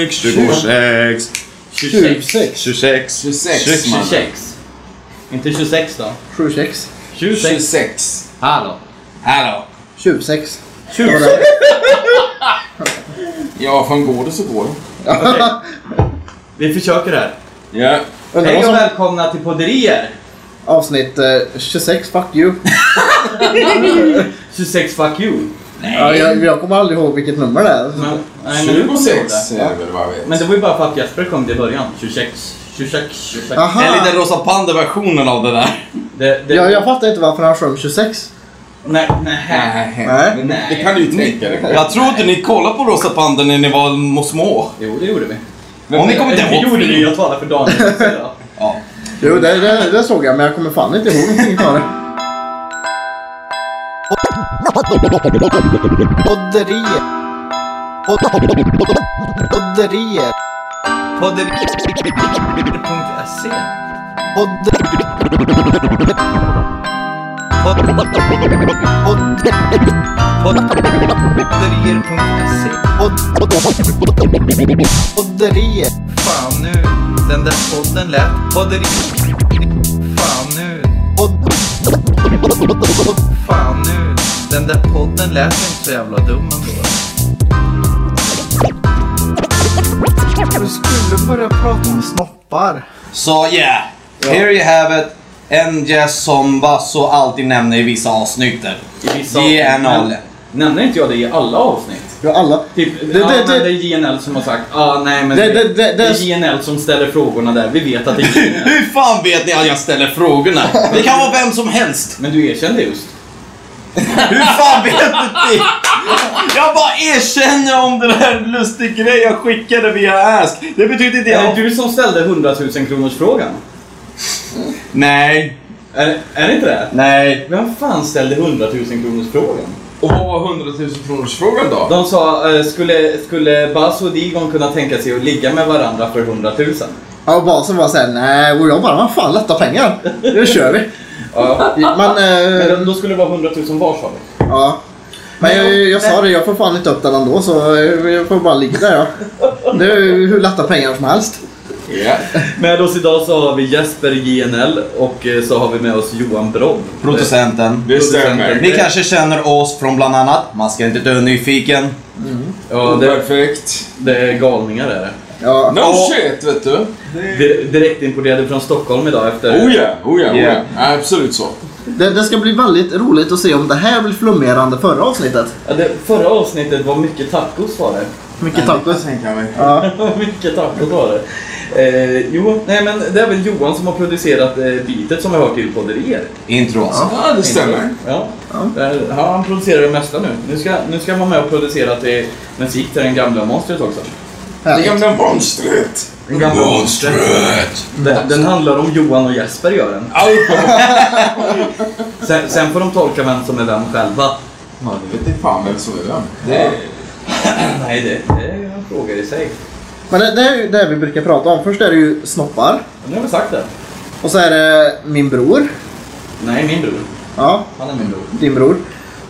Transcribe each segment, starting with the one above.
X, 26, 26. 26, 26 man. 26. Inte 26 då? 26. 26. 26. Hallå. Hallå. 26. Ja, fan går det så går det. Vi försöker här. Ja. Undrar vad Hej och som... välkomna till podderier. Avsnitt eh, 26, fuck you. 26 fuck you. Ja, jag, jag kommer aldrig ihåg vilket nummer det är. Men, nej, men, du kommer ihåg 26 det. är väl vad jag vet. men det var ju bara för att Jesper kom till början. 26, 26, 26. Den Aha! lilla Rosa Panda-versionen av det där. Det, det, Ja, jag fattar inte varför han sjöng 26. Nej, nej. Nej. Men Det kan du ju tänka dig. Jag tror inte ni kollade på Rosa Panda när ni var små. Jo, det gjorde vi. Om ni kommer det inte gjorde vi. ihåg. Jag talar för Daniel. så ja. Ja. Jo, det, det, det såg jag, men jag kommer fan inte ihåg någonting av det. Podderier. Podderier. Podderier.se Podderier.se. Podderier. Fan nu, den där podden lät. Podderier. Fan nu. Fan nu, den där podden lät inte så jävla dum ändå. Du skulle börja prata om snoppar. Så yeah. Here you have it. En gäst som Basso alltid nämner i vissa avsnitt. I vissa GNL. avsnitt. Nämner inte jag det i alla avsnitt? Ja, alla. Typ, Det- ja, det- men det- det är GNL som har sagt, ah, nej men Det- det- det- det är GNL som ställer frågorna där, vi vet att det är GNL. Hur fan vet ni att jag ställer frågorna? Det kan vara vem som helst. Men du erkände just. Hur fan vet ni? Jag bara erkänner om den där lustiga grejen jag skickade via Ask. Det betyder inte Det är jag... du som ställde 100 000 kronors frågan. Nej. Är, är det inte det? Nej. Vem fan ställde 100 000 kronors frågan? Och vad var 100 000 kronors frågan då? De sa, eh, skulle, skulle Basso och Digon kunna tänka sig att ligga med varandra för 100 000? Ja, och basen var såhär, nej, och jag bara, vad fan, lätta pengar. Nu kör vi. Ja. Men, Men eh, då- då skulle det vara 100 000 var sa vi. ja. Men jag, jag sa det, jag får fan inte upp den ändå, så eh, jag får bara ligga där. Ja. Det är ju hur lätta pengar som helst. Ja. Med oss idag så har vi Jesper GNL och eh, så har vi med oss Johan Brodd. Producenten. Det stämmer. Ni kanske känner oss från bland annat Man ska inte dö nyfiken. Ja, det, Perfekt. det är galningar är det. Ja. No Ja. shit, vet Eh, du. Di- Direktimporterade från Stockholm idag efter... Oh ja, oh ja, oh ja. Yeah. Ja, Absolut så. Det, det ska bli väldigt roligt att se om det här blir flummigare än det förra avsnittet. Ja, det, förra avsnittet var mycket tacos var det. Mycket tacos. tänker mig. Ja. mycket tacos var det. Eh, jo, nej men det är väl Johan som har producerat eh, bitet som jag hör till podderier. Intro alltså. Ja, det stämmer. Ja. Eh, ja, han producerar det mesta nu. Nu ska, nu ska han vara med och producera till musik till den gamla monstret också. Det Härligt. gamla monstret. Den gamla Monstret! Den, den handlar om Johan och Jesper gör den. Sen, sen får de tolka vem som är vem själva. Ja, det vet inte fan vem som är vem. Det är... Nej, det, det är ju en fråga i sig. Men det, det är ju det vi brukar prata om. Först är det ju snoppar. Men nu har vi sagt det. Och så är det min bror. Nej, min bror. Ja, Han är min bror. din bror.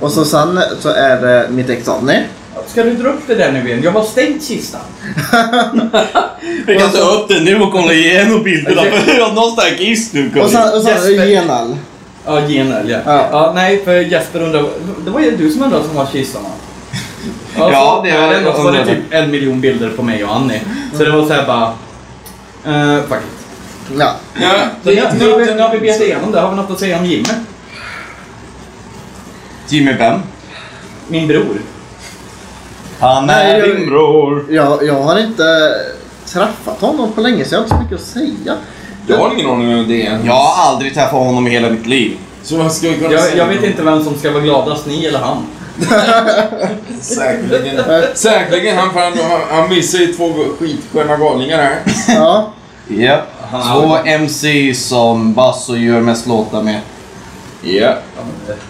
Och så sen så är det mitt ex Annie. Ska du dra upp det där nu igen? Jag har stängt kistan. Vi kan ta Alltså- upp det nu och kolla igenom bilderna för jag har någonstans giss nu. Och Colin. sen, och sen Jesper. Genal. Ja, genöl ja. Ja. ja. nej, för Jesper undrar... Det var ju du som undrade som var kistan va? Ja, så- det var- nej, Och så var det undrade. typ en miljon bilder på mig och Annie. Så det var såhär bara... Uh, fuck it. Ja. Ja, Så nu, nu, nu har vi betat igenom det. Har vi något att säga om Jimmy? Jimmy vem? Min bror. Han Nej, är jag- din bror. Jag, jag har inte träffat honom på länge så jag har inte så mycket att säga. Jag har ingen aning om vem det är. Jag har aldrig träffat honom i hela mitt liv. Så vad ska vi kunna Jag, säga? jag vet inte vem som ska vara gladast, ni eller han. Säkerligen. Eh, Säkerligen. Han, han, han missar ju två skitsköna galningar här. Ja. Japp. Två MC som Basso gör mest låtar med. Ja.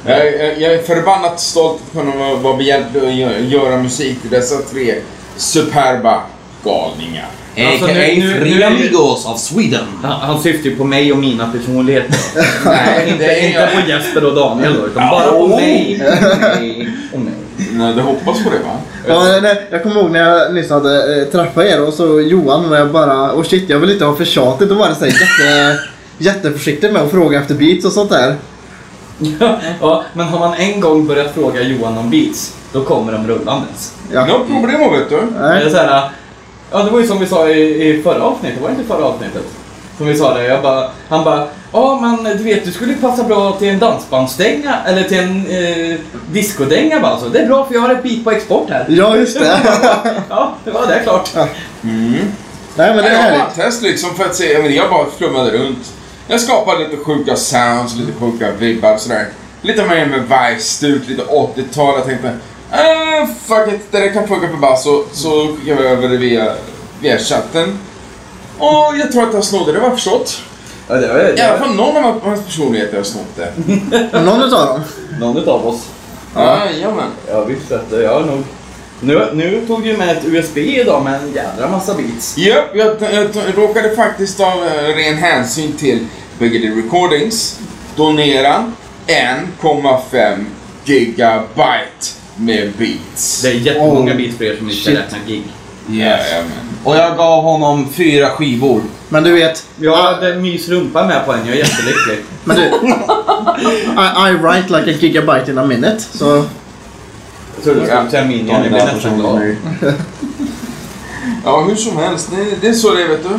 Jag, jag, jag är förbannat stolt att kunna vara, vara behjälplig och gö- göra musik till dessa tre superba galningar. Alltså, Eh, A.k.a. nu- nu- nu är det- Flamingos av Sweden. Han, han syftar ju på mig och mina personligheter. Nej, inte, det är inte på Jesper och Daniel då, utan bara på mig. Och mig. Och mig. Nej, du hoppas på det va? Ja, nej, jag kommer ihåg när jag nyss hade eh, träffat er och så Johan var jag bara, oh shit jag vill inte ha för tjatigt och vara så här jätte, jätteförsiktig med att fråga efter beats och sånt där. ja, men har man en gång börjat fråga Johan om beats, då kommer de rullandes. Ja. No problem vet du. Det är Nej. så här, ja, det var ju som vi sa i, i förra avsnittet, var det inte förra avsnittet? Som vi sa det, jag bara, han bara, ja men du vet du skulle passa bra till en dansbandsdänga, eller till en eh, discodänga bara alltså. Det är bra för jag har ett beat på export här. Ja, just det. Ja, det var det klart. Mm. nej, men det är Jag bara härligt. test liksom för att se, jag, menar, jag bara flummade runt. Jag skapade lite sjuka sounds, lite sjuka vibbar och sådär. Lite mer med vice-stuk, lite 80-tal. Jag tänkte, eh, fuck it, det där kan funka för bara så, så skickade jag över det via, via chatten. Och jag tror att jag snodde det, vad jag förstått. Ja, det var, det I alla fall någon av hans personligheter har snott det. Någon utav dem. någon utav oss. Jajamän. Ja, visst att jag har nog. Nu, nu tog du med ett USB idag med en jädra massa beats. Japp, jag, jag, jag råkade faktiskt av eh, ren hänsyn till Biggity Recordings donera 1,5 gigabyte med beats. Det är jättemånga Oh, beats för er som inte shit. räknar gig. Jajamän. Och jag gav honom fyra skivor. Men du vet, Jag hade mys rumpa med på en, jag är jättelycklig. men du. I, I write like a gigabyte in a minute. Så Jag trodde du skulle säga min, jag blev nästan glad. Ja, hur som helst, det, det är så det är vet du.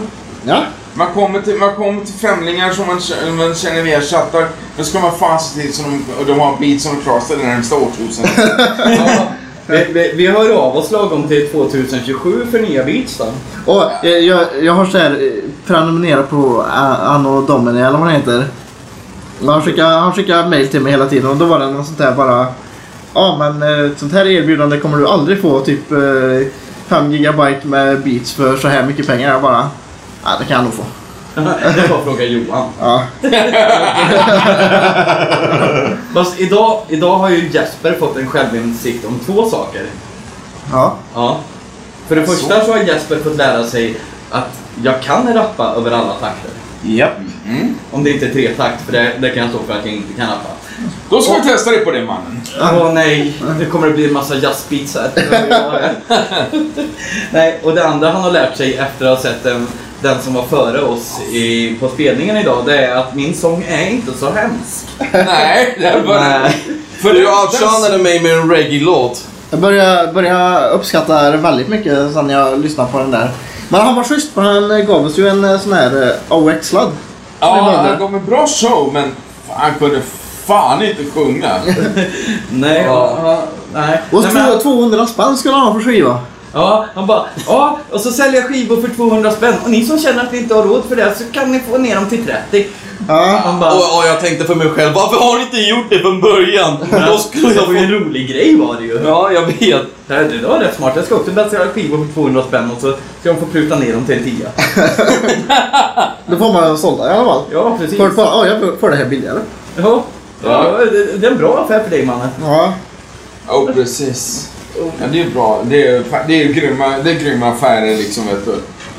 ja, Man kommer till, man kommer till främlingar som man, k- man känner via chattar. Då ska man fan se till så de, och de har beats som de klarar sig det närmsta årtusendet. Ja, vi, vi, vi hör av oss lagom till 2027 för nya beats då. Och eh, jag, jag har så här eh, prenumererat på A- Anno Domini eller vad han heter. Och Han skickar, han skickar mail till mig hela tiden och då var det något sånt där bara. Ja men eh, ett sånt här erbjudande kommer du aldrig få. Typ 5 gigabyte med beats för så här mycket pengar. Jag bara. Ja det kan jag nog få. Det var fråga Johan. Ja. Fast idag, idag har ju Jesper fått en självinsikt om två saker. Ja. Ja. För det första så har Jesper fått lära sig att jag kan rappa över alla takter. Japp. Mm. Om det inte är tretakt, för det, det kan jag stå för att jag inte kan rappa. Då ska vi testa det på den mannen. Åh nej, nu kommer det bli en massa jazzbeats här. nej, och det andra han har lärt sig efter att ha sett den, den som var före oss i, på spelningen idag, det är att min sång är inte så hemsk. Nej, det var Nej. För Du outshonade mig med en reggae-låt. Jag börjar, börjar uppskatta det väldigt mycket sen jag lyssnade på den där. Men han var schysst för han eh, gav oss ju en eh, sån här eh, AOX-sladd. Ja, han gav en bra show, men fan, han kunde fan inte sjunga. Nej, ja. ja, nej. Och nej, men- 200 spänn skulle han ha för skiva. Ja, han bara ja, och så säljer jag skivor för 200 spänn och ni som känner att ni inte har råd för det så kan ni få ner dem till 30. Ja. Han bara, Och, och jag tänkte för mig själv, varför har ni inte gjort det från början? Då skulle det jag var ju en få... rolig grej var det ju. Ja, jag vet. Det här- Det var rätt smart. Jag ska också beställa skivor för 200 spänn och så ska de få pruta ner dem till en tia. Då får man sålda i alla fall. Ja, precis. Folk bara, ja jag får det här billigare. Ja, ja. Det, det är en bra affär för dig mannen. Ja. Ja, Oh, precis. Ja, det är bra. Det är, fa- det är, grymma, det är grymma affärer liksom, vet du.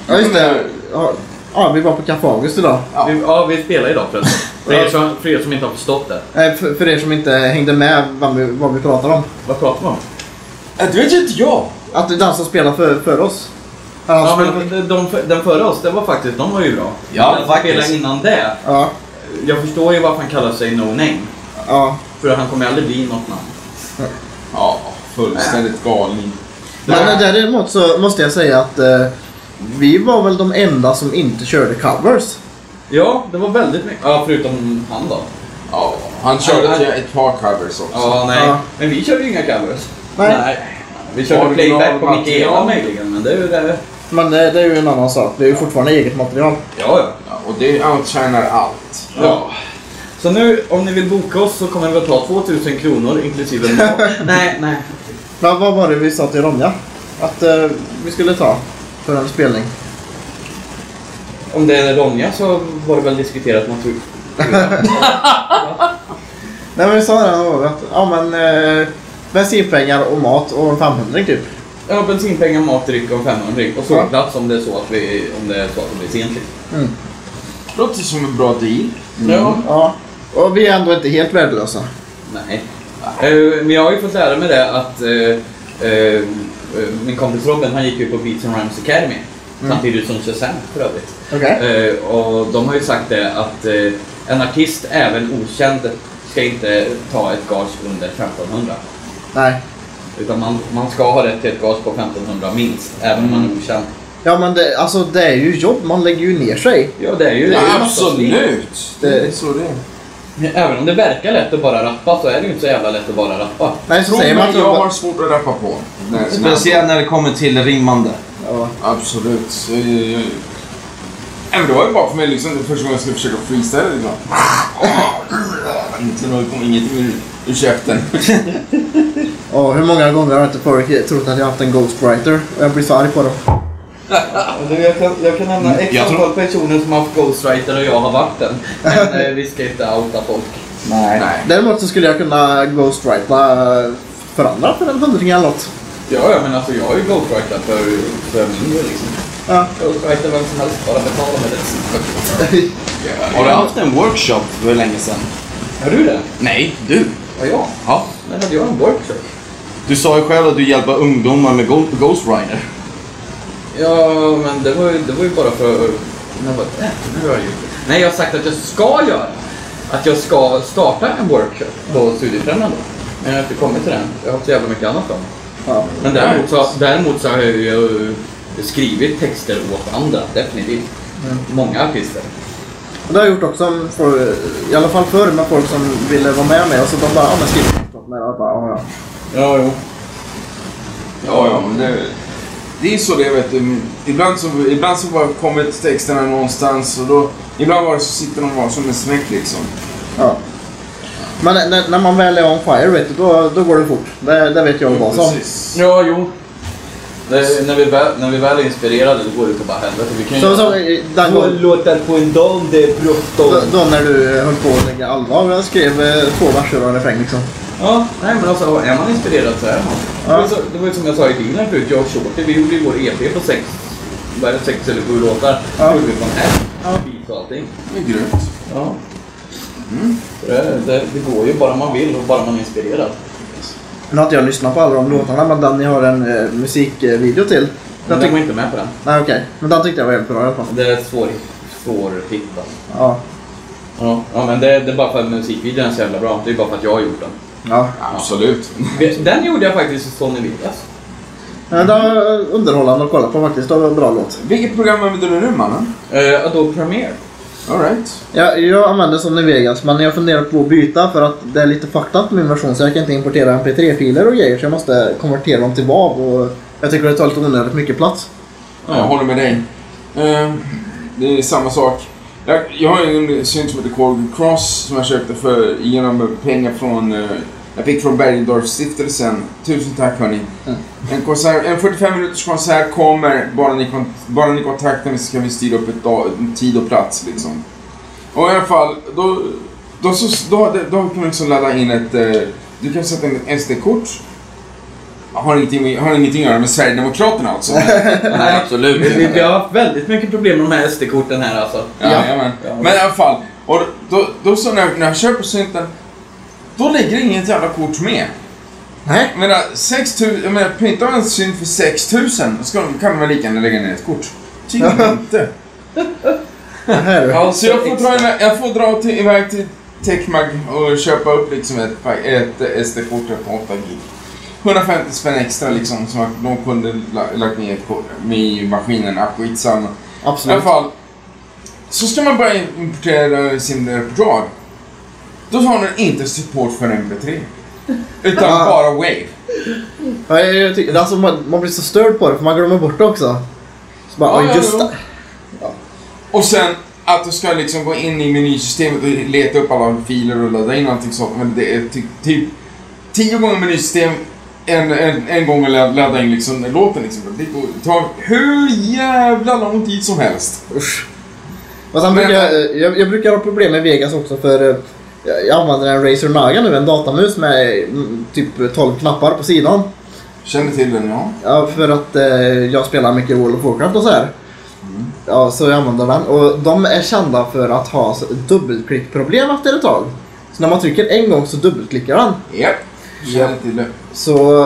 ja, just det. Ja, Ja, vi var på Café August idag. Ja. Vi, ja, vi spelar idag förresten. För er, som, för er som inte har förstått det. Nej, För, för er som inte hängde med vad vi, vad vi pratade om. Vad pratar man om? Ja, Det vet ju inte jag. Att det är den som spelar för, för oss. Han Ja, spelar- men de, de, den före oss, det var faktiskt, de var ju bra. Ja, den som faktiskt. spelade innan det. ja, Jag förstår ju varför han kallar sig No Name. ja. För han kommer ju aldrig bli något namn. Ja, fullständigt galen. Men eh, däremot så måste jag säga att eh, vi var väl de enda som inte körde covers. Ja, det var väldigt mycket. Ja, förutom han då. Ja, han körde till ett par covers också. Ja, nej. Ja. Men vi körde ju inga covers. Nej. Vi körde Original playback på Micke material. Eva möjligen, men det är ju det. Men eh, det är ju en annan sak. Det är ju fortfarande eget material. Ja, ja. Ja, och det outshinar allt. Ja. Så nu, om ni vill boka oss så kommer det väl ta 2000 kronor inklusive mat. nej, nej. Men vad var det vi sa till Ronja? Att eh, vi skulle ta för en spelning. Om det är Ronja så var det väl diskuterat natur. Nej men vi sa det nog att, ja men eh, bensinpengar och mat och en 500 typ. Ja, bensinpengar, mat, dryck och 500 dryck. Och sovplats om det är så att vi, om det är så att det blir sent. liksom. Låter som en bra deal. Ja. Ja. Och vi är ändå inte helt värdelösa. Nej. Eh, Men jag har ju fått lära mig det att eh, eh, eh, min kompis Robin han gick ju på Beats and Rhymes Academy. Samtidigt som Shazam för övrigt. Okej. Eh, och de har ju sagt det att eh, en artist, även okänd, ska inte ta ett gage under 1500. Nej. Utan man, man ska ha rätt till ett gage på 1500 minst, även om man är okänd. Ja men det, alltså det är ju jobb, man lägger ju ner sig. Ja, det är ju det. är ju Absolut! Det är så det är. Men Även om det verkar lätt att bara rappa så är det ju inte så jävla lätt att bara rappa. Nej så Tror säger man mig, att jag har jobba... svårt att rappa på. Nej, Speciellt när det kommer till rimmande. Ja. Absolut. Så, jag- jag- Nej, men det var ju bara för mig liksom, det första gången jag skulle försöka freestyla. Liksom. Inte något- kom inget ur, ur käften. Och hur många gånger har inte folk trott att jag har haft en ghostwriter? Och jag blir så arg på dem. Du, jag, kan, Mm, jag kan nämna x jag tror- antal personer som har haft ghostwriter och jag har varit den. Men eh, vi ska inte outa folk. Nej. Däremot så skulle jag kunna ghostwrita eh, för andra för en hundring eller något. Ja, ja, men alltså jag är ju ghostwriter för, för min del liksom. Ja. Ghostwriter vem som helst, bara betala med det. Har du haft en workshop för länge sedan? Har du det? Nej, du. Ja, jag. Ja. Men hade jag en workshop? Du sa ju själv att du hjälper ungdomar med Go- Ghost Rider. Ja, men det var ju, det var ju bara för... Men vad- äh, nu har jag gjort det. Nej, jag har sagt att jag ska göra. Att jag ska starta en workshop på Studiefrämjande. Men jag har inte kommit till den. Jag har haft så jävla mycket annat då. Ja. Men däremot så, däremot så har jag ju skrivit texter åt andra, definitivt. Många artister. Och det har jag gjort också, med folk- i alla fall förr med folk som ville vara med mig och så de bara ja men skriv något med det. Jag bara, ja, ja. Ja, jo. Ja, ja, men det, det är så det vet du. Ibland så, ibland så bara kommer texterna någonstans och då... Ibland bara så sitter de bara som en smäck liksom. Ja. Men när, när man väl är on fire vet du, då, då går det fort. Det, det vet jag vad som. Precis. Ja, jo. Det, när, vi väl, när vi väl är inspirerade då går det bara helvete. Vi kan ju... Så, så, eh, den Två gången, låtar på en dag, det är bråttom. då, då när du eh, höll på att lägga allvar jag skrev eh, två verser och en refräng liksom. Ja, nej men alltså är man inspirerad så är man. Det var ju så- Det var ju som jag sa i bilen förut, jag och Shorty, vi gjorde ju vår EP på sex, vad är det, sex eller sju låtar. Ja. Det gjorde vi från här, beat och allting. Det är grymt. Ja. Så Det, det, det går ju bara man vill och bara man är inspirerad. Nu har inte jag lyssnat på alla de låtarna men den ni har en eh, musikvideo till. Men Jag jag tyck- var inte med på den. Nej okej, men den tyckte jag var helt bra i alla fall. Det är svår, svår hitta. Ja. Ja. ja, men det, det är bara för att musikvideon är så jävla bra. Det är bara för att jag har gjort den. ja. Absolut. Den gjorde jag faktiskt i Sony Vegas. Men den Eh, var underhållande att kolla på faktiskt. Det var en bra låt. Vilket program använder du nu mannen? Eh, Adobe Premiere. Alright. Jag, jag använder Sony Vegas men jag funderar på att byta för att det är lite fucked up med min version så jag kan inte importera mp3-filer och grejer så jag måste konvertera dem till WAV och jag tycker det tar lite onödigt mycket plats. Ja, jag håller med dig. Eh, det är samma sak. Jag, jag har en synt som heter Colgan Cross som jag köpte för genom pengar från... eh, jag fick från Bergendorfstiftelsen. Tusen tack hörni. En, konsert, en 45 minuters konsert kommer. Bara ni, kon- bara ni kontaktar mig så kan vi styra upp ett dag, en tid och plats liksom. Och i alla fall, då, då, så, då, då kan man liksom ladda in ett... eh, du kan sätta in ett SD-kort. Har ingenting, med- har ingenting att göra med Sverigedemokraterna alltså. Nej, absolut. Vi, vi, vi har haft väldigt mycket problem med de här SD-korten här alltså. Ja, jajamän. Men i alla fall. Och då, då så när, när jag köper synten, då ligger inget jävla kort med. Nej. Jag menar, 6 000, jag menar printar man en synt för 6000 då ska, kan man väl lika gärna lägga ner ett kort. Tycker inte. Det här är Ja, så jag får dra, iväg, jag får dra till, iväg till Techmag och köpa upp liksom ett, pa- ett eh, SD-kort här på 8 gig. 150 spänn extra liksom som jag- de kunde la- lagt ner i ett kort- i maskinen. Ah, skitsamma. I alla absolut. fall. Så ska man börja importera sin repertoar. Då har den inte support för MP3. Utan Ah. bara Wave. Ja, jag, jag tycker, alltså, man, man blir så störd på det för man glömmer bort det också. Så bara, Ja, ja, ja, just jo. det. Och sen att du ska liksom gå in i menysystemet och leta upp alla filer och ladda in allting sånt. Men det är ty typ tio gånger menysystem, en, en, en gång att lad- ladda in liksom låten. Liksom. Det går- tar hur jävla lång tid som helst. Usch. Och sen Men- brukar jag, eh, jag, jag brukar ha problem med Vegas också för eh, jag jag använder en Razer Naga nu, en datamus med mm, typ 12 knappar på sidan. Känner till den ja. Ja, för att eh, jag spelar mycket World of Warcraft och så här. Ja, så jag använder den. Och de är kända för att ha så- dubbelklickproblem efter ett tag. Så när man trycker en gång så dubbelklickar den. Japp. Känner till det. Så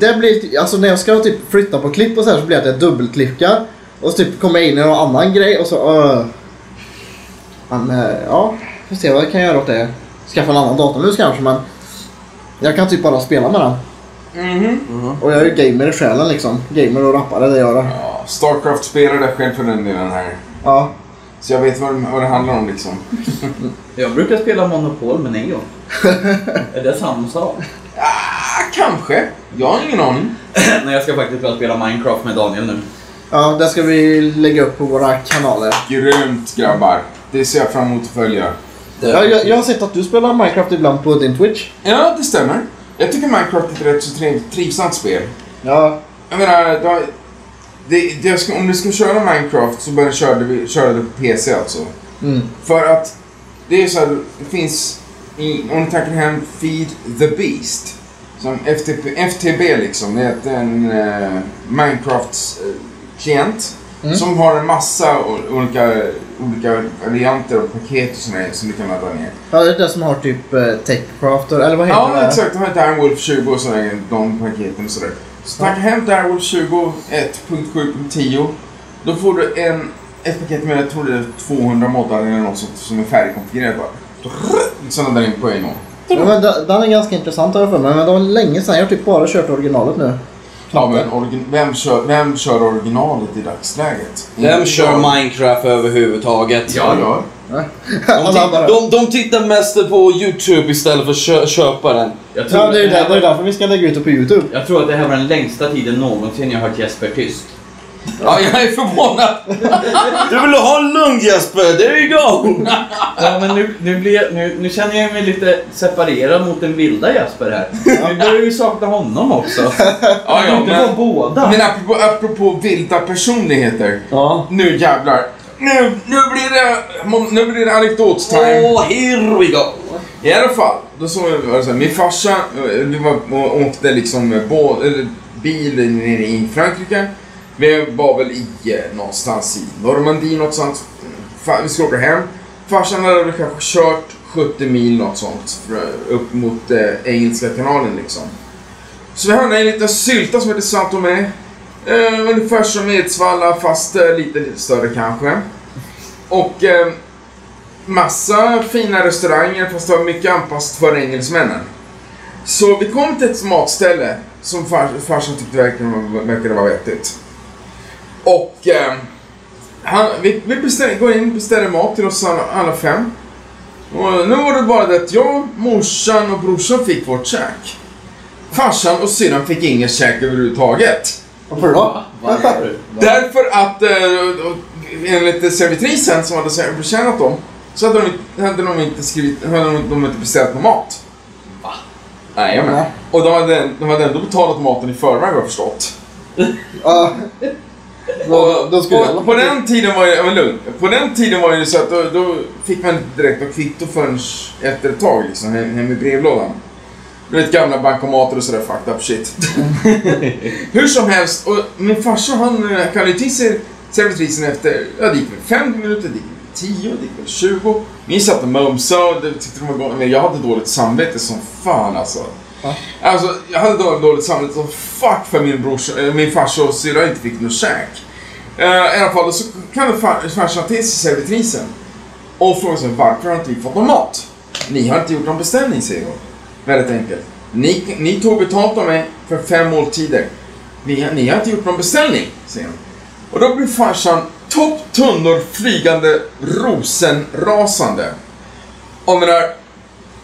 det blir, alltså när jag ska typ flytta på klipp och så här så blir det att jag dubbelklickar. Och så typ kommer jag in i någon annan grej och så öh. Men eh, ja, får se vad jag kan göra åt det. Skaffa en annan datamus kanske men. Jag kan typ bara spela med den. Mhm. Och jag är ju gamer i själen liksom. Gamer och rappare det gör jag. Ja, Starcraft spelade jag själv för den delen här. Ja. Så jag vet vad, vad det handlar om liksom. Jag brukar spela Monopol men en gång. är det samma sak? Ah, kanske. Jag har ingen aning. Nej, jag ska faktiskt börja spela Minecraft med Daniel nu. Ja, det ska vi lägga upp på våra kanaler. Grymt grabbar. Det ser jag fram emot att följa. Jag, jag, jag har sett att du spelar Minecraft ibland på din Twitch. Ja, det stämmer. Jag tycker Minecraft är ett rätt så triv, trivsamt spel. Ja. Jag menar, då, det, det, jag ska, om du ska köra Minecraft så bör du köra det, köra det på PC alltså. Mm. För att det är så här, det finns, i, om ni tankar hem Feed the Beast. Som FTP, FTB liksom, det är en eh, Minecraft-klient. Mm. Som har en massa o- olika, olika varianter och paket och sådär som du kan ladda ner. Ja, det är det som har typ eh, Techcraft eller vad heter Ja, det? exakt. De har Direwolf 20 och sådär, de paketen och sådär. Så tacka hem Direwolf 20 1.7.10. Då får du en, ett paket med, jag tror det är 200 moddar eller något sånt som är färdigkonfigrerat bara. Då Liksom laddar in på en gång. Ja, men den, den är ganska intressant har jag för mig, men det var länge sedan. Jag har typ bara kört originalet nu. Ja, men origin- vem, kör, vem kör originalet i dagsläget? Mm. Vem kör Minecraft överhuvudtaget? Jag gör. De, Alla titt- bara- de, de tittar mest på YouTube istället för att kö- köpa den. Jag tror, Ja, det är ju det där, det är här, därför vi ska lägga ut det på YouTube. jag tror att det här var den längsta tiden någonsin jag hört Jesper tyst. Ja, jag är förvånad. Du vill ha lugn Jesper, there you go! Ja, men nu, nu, blir jag, nu, nu känner jag mig lite separerad mot den vilda Jesper här. Nu börjar jag ju sakna honom också. Ja, ja, inte vara men, båda. men apropå, apropå vilda personligheter. Ja. Nu jävlar. Nu, nu blir det, nu blir det anekdotstime. Oh, here we go! I alla fall, då såg jag, var det så här, min farsa, eh, vi var, och åkte liksom med bå- eller bil nere i Frankrike. Vi var väl i, eh, någonstans i Normandie någonstans. Fa- vi skulle åka hem. Farsan hade väl kanske kört 70 mil något sånt för- upp mot eh, Engelska kanalen liksom. Så vi hamnade i en liten sylta som heter Saint Tomé. Eh, ungefär som Edsvalla fast eh, lite, lite större kanske. Och eh, massa fina restauranger fast det var mycket anpassat för engelsmännen. Så vi kom till ett matställe som far, farsan tyckte verkligen var- verkade vara vettigt. Och eh, han, vi, vi beställer, går in och beställer mat till oss alla, alla fem. Och nu var det bara det att jag, morsan och brorsan fick vårt käk. Farsan och syrran fick inget käk överhuvudtaget. Varför då? Vad gör du? Därför att eh, och- enligt servitrisen som hade betjänat dem så hade de, inte- hade de inte skrivit, hade de, de inte beställt någon mat. Va? Nej, jag Nej. Och de hade, de hade ändå betalat maten i förväg har jag förstått. Ja. Då, då skulle och, jag på den tiden var det, men lugn, på den tiden var det ju så att då, då fick man inte direkt något kvitto förrän efter ett tag liksom, hem, hem i brevlådan. Du vet gamla bankomater och sådär fucked up shit. Hur som helst, och min farsa han eh, kallade ju till sig servitrisen efter, ja det gick väl 50 minuter, det gick väl 10, det gick väl 20. Ni satt och mumsade och det tyckte de var gott. Men jag hade dåligt samvete som fan alltså. Va? Alltså, jag hade dåligt, dåligt samvete som fuck för min, brorsa, eh, min farsa och syrra inte fick något käk. Eh, I alla fall, så kallade far- farsan till sig servitrisen. Och frågade sig varför har inte vi fått någon mat? Ni har inte gjort någon beställning, säger hon. Väldigt enkelt. Ni, ni tog betalt av mig för fem måltider. Ni, har- ni har inte gjort någon beställning, säger hon. Och då blir farsan topp tunnor flygande rosenrasande. Och menar,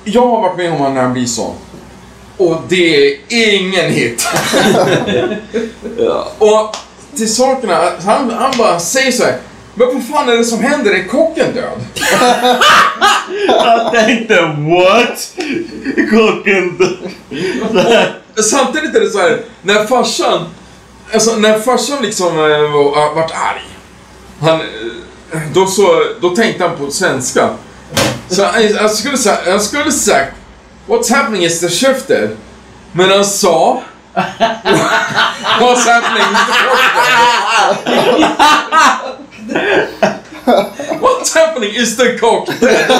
jag har varit med om honom när han blir så. Och det är ingen hit. Och till sakerna, han, han bara säger så här. Men vad fan är det som händer? Är kocken död? Jag tänkte what? Kocken Samtidigt är det så här, när farsan, alltså när farsan liksom eh, var, vart arg, han, eh, då, så, då tänkte han på svenska. Så han, han, skulle, sa- han skulle sagt, what's happening is the chef dead. Men han sa, what's happening is the cook dead. What's happening is the cock dead.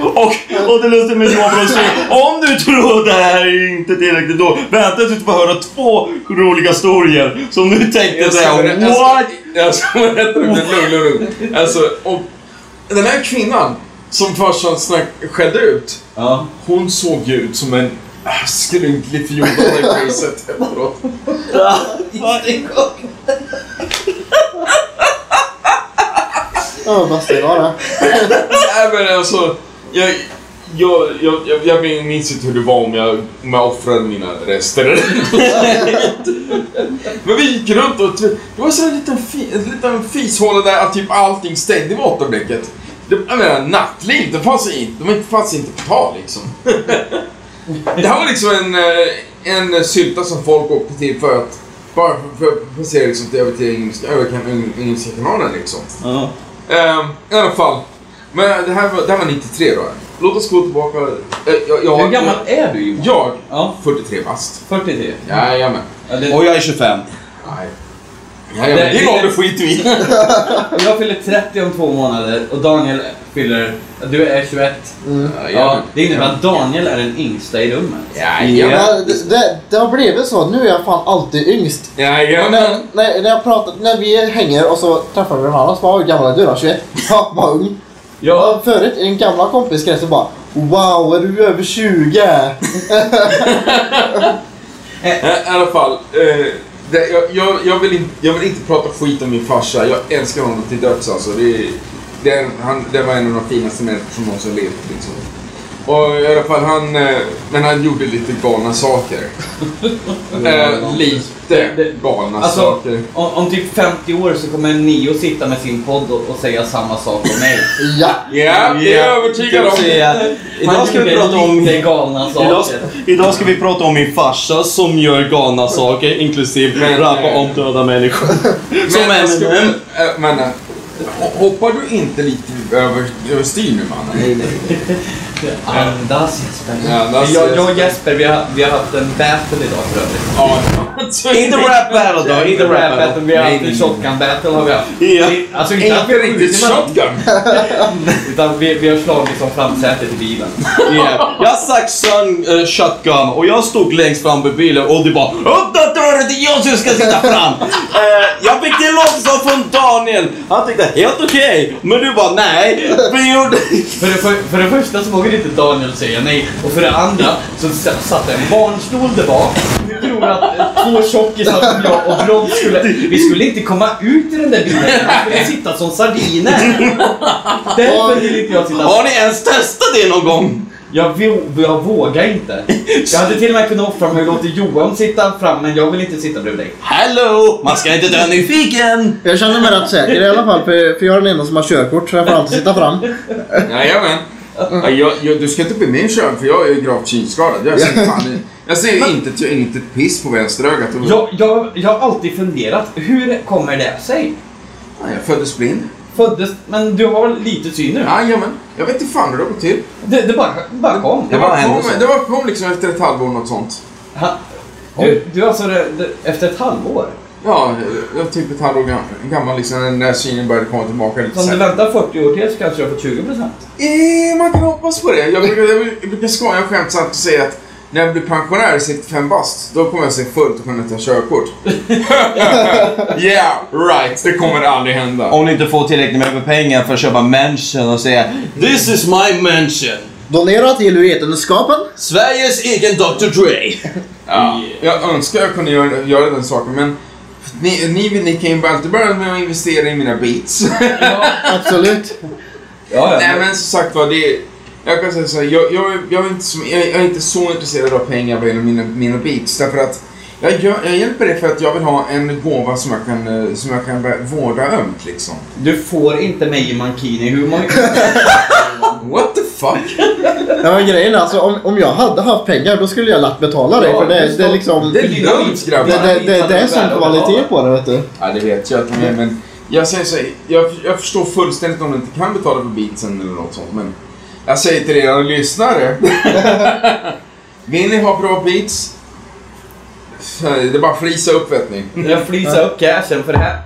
och, Och det lustiga med Johan Brorsson, om du tror att det här är inte tillräckligt då, vänta tills du får höra två roliga historier som du tänkte Jag ska säga berätta- jag ska- what? Jag ska berätta det, men lugn, lugn, lugn. Alltså, och den här kvinnan som farsan snack, skällde ut, Ja. hon såg ju ut som en ah, skrynklig fjortonde i priset efteråt. Ja, vad ska det vara? Nej men alltså, jag, jag, jag, jag, jag minns inte hur det var om jag, om jag offrade mina rester eller något. Men vi gick runt och det var så en liten, fi, en liten fishåla där att typ allting stängde med återblecket. Det, jag menar nattliv, det fanns inte, de fanns inte på tal liksom. Det här var liksom en, eh, en sylta som folk åkte till för att bara för, för, för att se liksom till över till engelska, över kan- engelska kanalen liksom. Ja. Ehm, I alla fall. Men det här, var, det här var 93 då. Låt oss gå tillbaka. Eh, jag, jag, Hur gammal är du Johan? Jag, Ja. 43 bast. 43. Jajamän. Ja, det, Och jag är 25. Nej. Jajamän. Din ålder skiter vi i. jag fyller 30 om två månader och Daniel fyller... Du är 21. Ja, Jajamän. det innebär att Daniel är den yngsta i rummet. Jajamän. Ja, det, det, det har blivit så. Nu är jag fan alltid yngst. Och Jajamän. När, när, när, jag pratar, när vi hänger och så träffar vi varandra så bara "Hur gammal är du då? 21? Ja, vad ung. Ja, Och Förut i den gamla kompiskretsen bara Wow, är du över 20? Eh, I alla fall. Eh, det, jag, jag, jag, vill inte, jag vill inte prata skit om min farsa. Jag älskar honom till döds alltså. Det, är- det, är- han, det var en av de finaste människor som någonsin levt liksom. Och i alla fall han, eh, men han gjorde lite galna saker. eh, lite galna Alltså- saker. om, om typ 50 år så kommer Neo sitta med sin podd och, och säga samma sak om mig. Ja. Ja, det är jag övertygad om. Eh, Han Idag ska vi gjorde prata om... lite galna Idag, saker. idag ska vi prata om min farsa som gör galna saker, inklusive Men, rappa eh, om döda människor. Som Men, jag ska- Eminem. eh, Men, eh, hoppar du inte lite över, över styr nu mannen? Nej, nej. Andas Jesper. Andas, jag, jag och Jesper. Jesper, vi har, vi har haft en battle idag för övrigt. Ja, alltså, Inte rap battle då, inte rap battle. vi har Nej, haft en nej. shotgun battle har vi haft. Ja. Vi- Alltså inte att vi Inte har skjutit riktigt varandra, shotgun. utan vi, vi har slagit som framsätet i bilen. Yeah. Jag sagt sun, eh, shotgun och jag stod längst fram vid bilen och det bara Upp då dörren, det är jag som ska sitta fram! Eh, jag fick det långsamt från Daniel. Han tyckte helt okej, men du bara nej. Vi gjorde... För det, för, för det första så vågade inte Daniel säga nej och för det andra så s- satt en barnstol där bak. Vi tror att eh, två tjockisar som jag och Brodd skulle, vi skulle inte komma ut ur den där bilen. Vi skulle sitta som sardiner. Därför ville inte jag sitta Har ni ens testat det någon gång? Jag, vå- jag vågar inte. Jag hade till och med kunnat offra mig och låtit Johan sitta fram, men jag vill inte sitta bredvid dig. Hello! Man ska inte dö nyfiken! Jag känner mig rätt säker i alla fall för, för jag är den enda som har körkort så jag får alltid sitta fram. Jajamän. Ja, jag, jag, du ska inte bli min kön för jag är ju gravt synskadad. Jag ser, fan, jag ser inte, jag, inte ett piss på vänsterögat. Och, Jag, jag, jag har alltid funderat, hur kommer det sig? Fan, jag föddes blind. Föddes, men du har lite syn nu? Jajamän. Jag vet inte fan hur det har gått till. Det, det bara, bara kom. Det bara var, hände kom, så. det var kom liksom efter ett halvår något sånt. Ha, du, du alltså, det, det, efter ett halvår? Ja, jag var typ ett halvår gam- gammal liksom när synen började komma tillbaka lite Så om du sen. väntar 40 år till så kanske du har fått 20 procent? Eh, man kan hoppas på det. Jag brukar, jag brukar- jag brukar skoja skämtsamt och säga att när jag blir pensionär i 65 bast, då kommer jag se fullt och kunna ta körkort. yeah, right. Det kommer aldrig hända. Om ni inte får tillräckligt med pengar för att köpa mansion och säga This is my mansion! Donera till vetenskapen. Sveriges egen Dr Dre! Ja. Jag önskar jag kunde göra, göra den saken, men ni, ni, ni kan ju alltid börja med att investera i mina beats. Absolut. Ja, Nej ja. men som sagt var, det är, jag kan säga så här, jag, jag, är- jag, är inte så, jag, jag är inte så intresserad av pengar vad gäller mina, mina beats. Därför att jag, gör, jag hjälper dig för att jag vill ha en gåva som jag kan, eh, som jag kan bä- vårda ömt liksom. Du får inte mig i mankini. Hur många... What the fuck? Ja, men grejen är alltså om, om jag hade haft pengar då skulle jag lätt betala dig för det, det är liksom... Det Det, är lugnt grabbar. det, det, det är sån kvalitet på det vet du. Ja det vet jag att de är men jag säger så här, jag, jag förstår fullständigt om du inte kan betala för beatsen eller något sånt men jag säger till era lyssnare. Vill ni ha bra beats? så här, Det är bara att flisa upp vet ni. Jag flisar upp cashen för det här.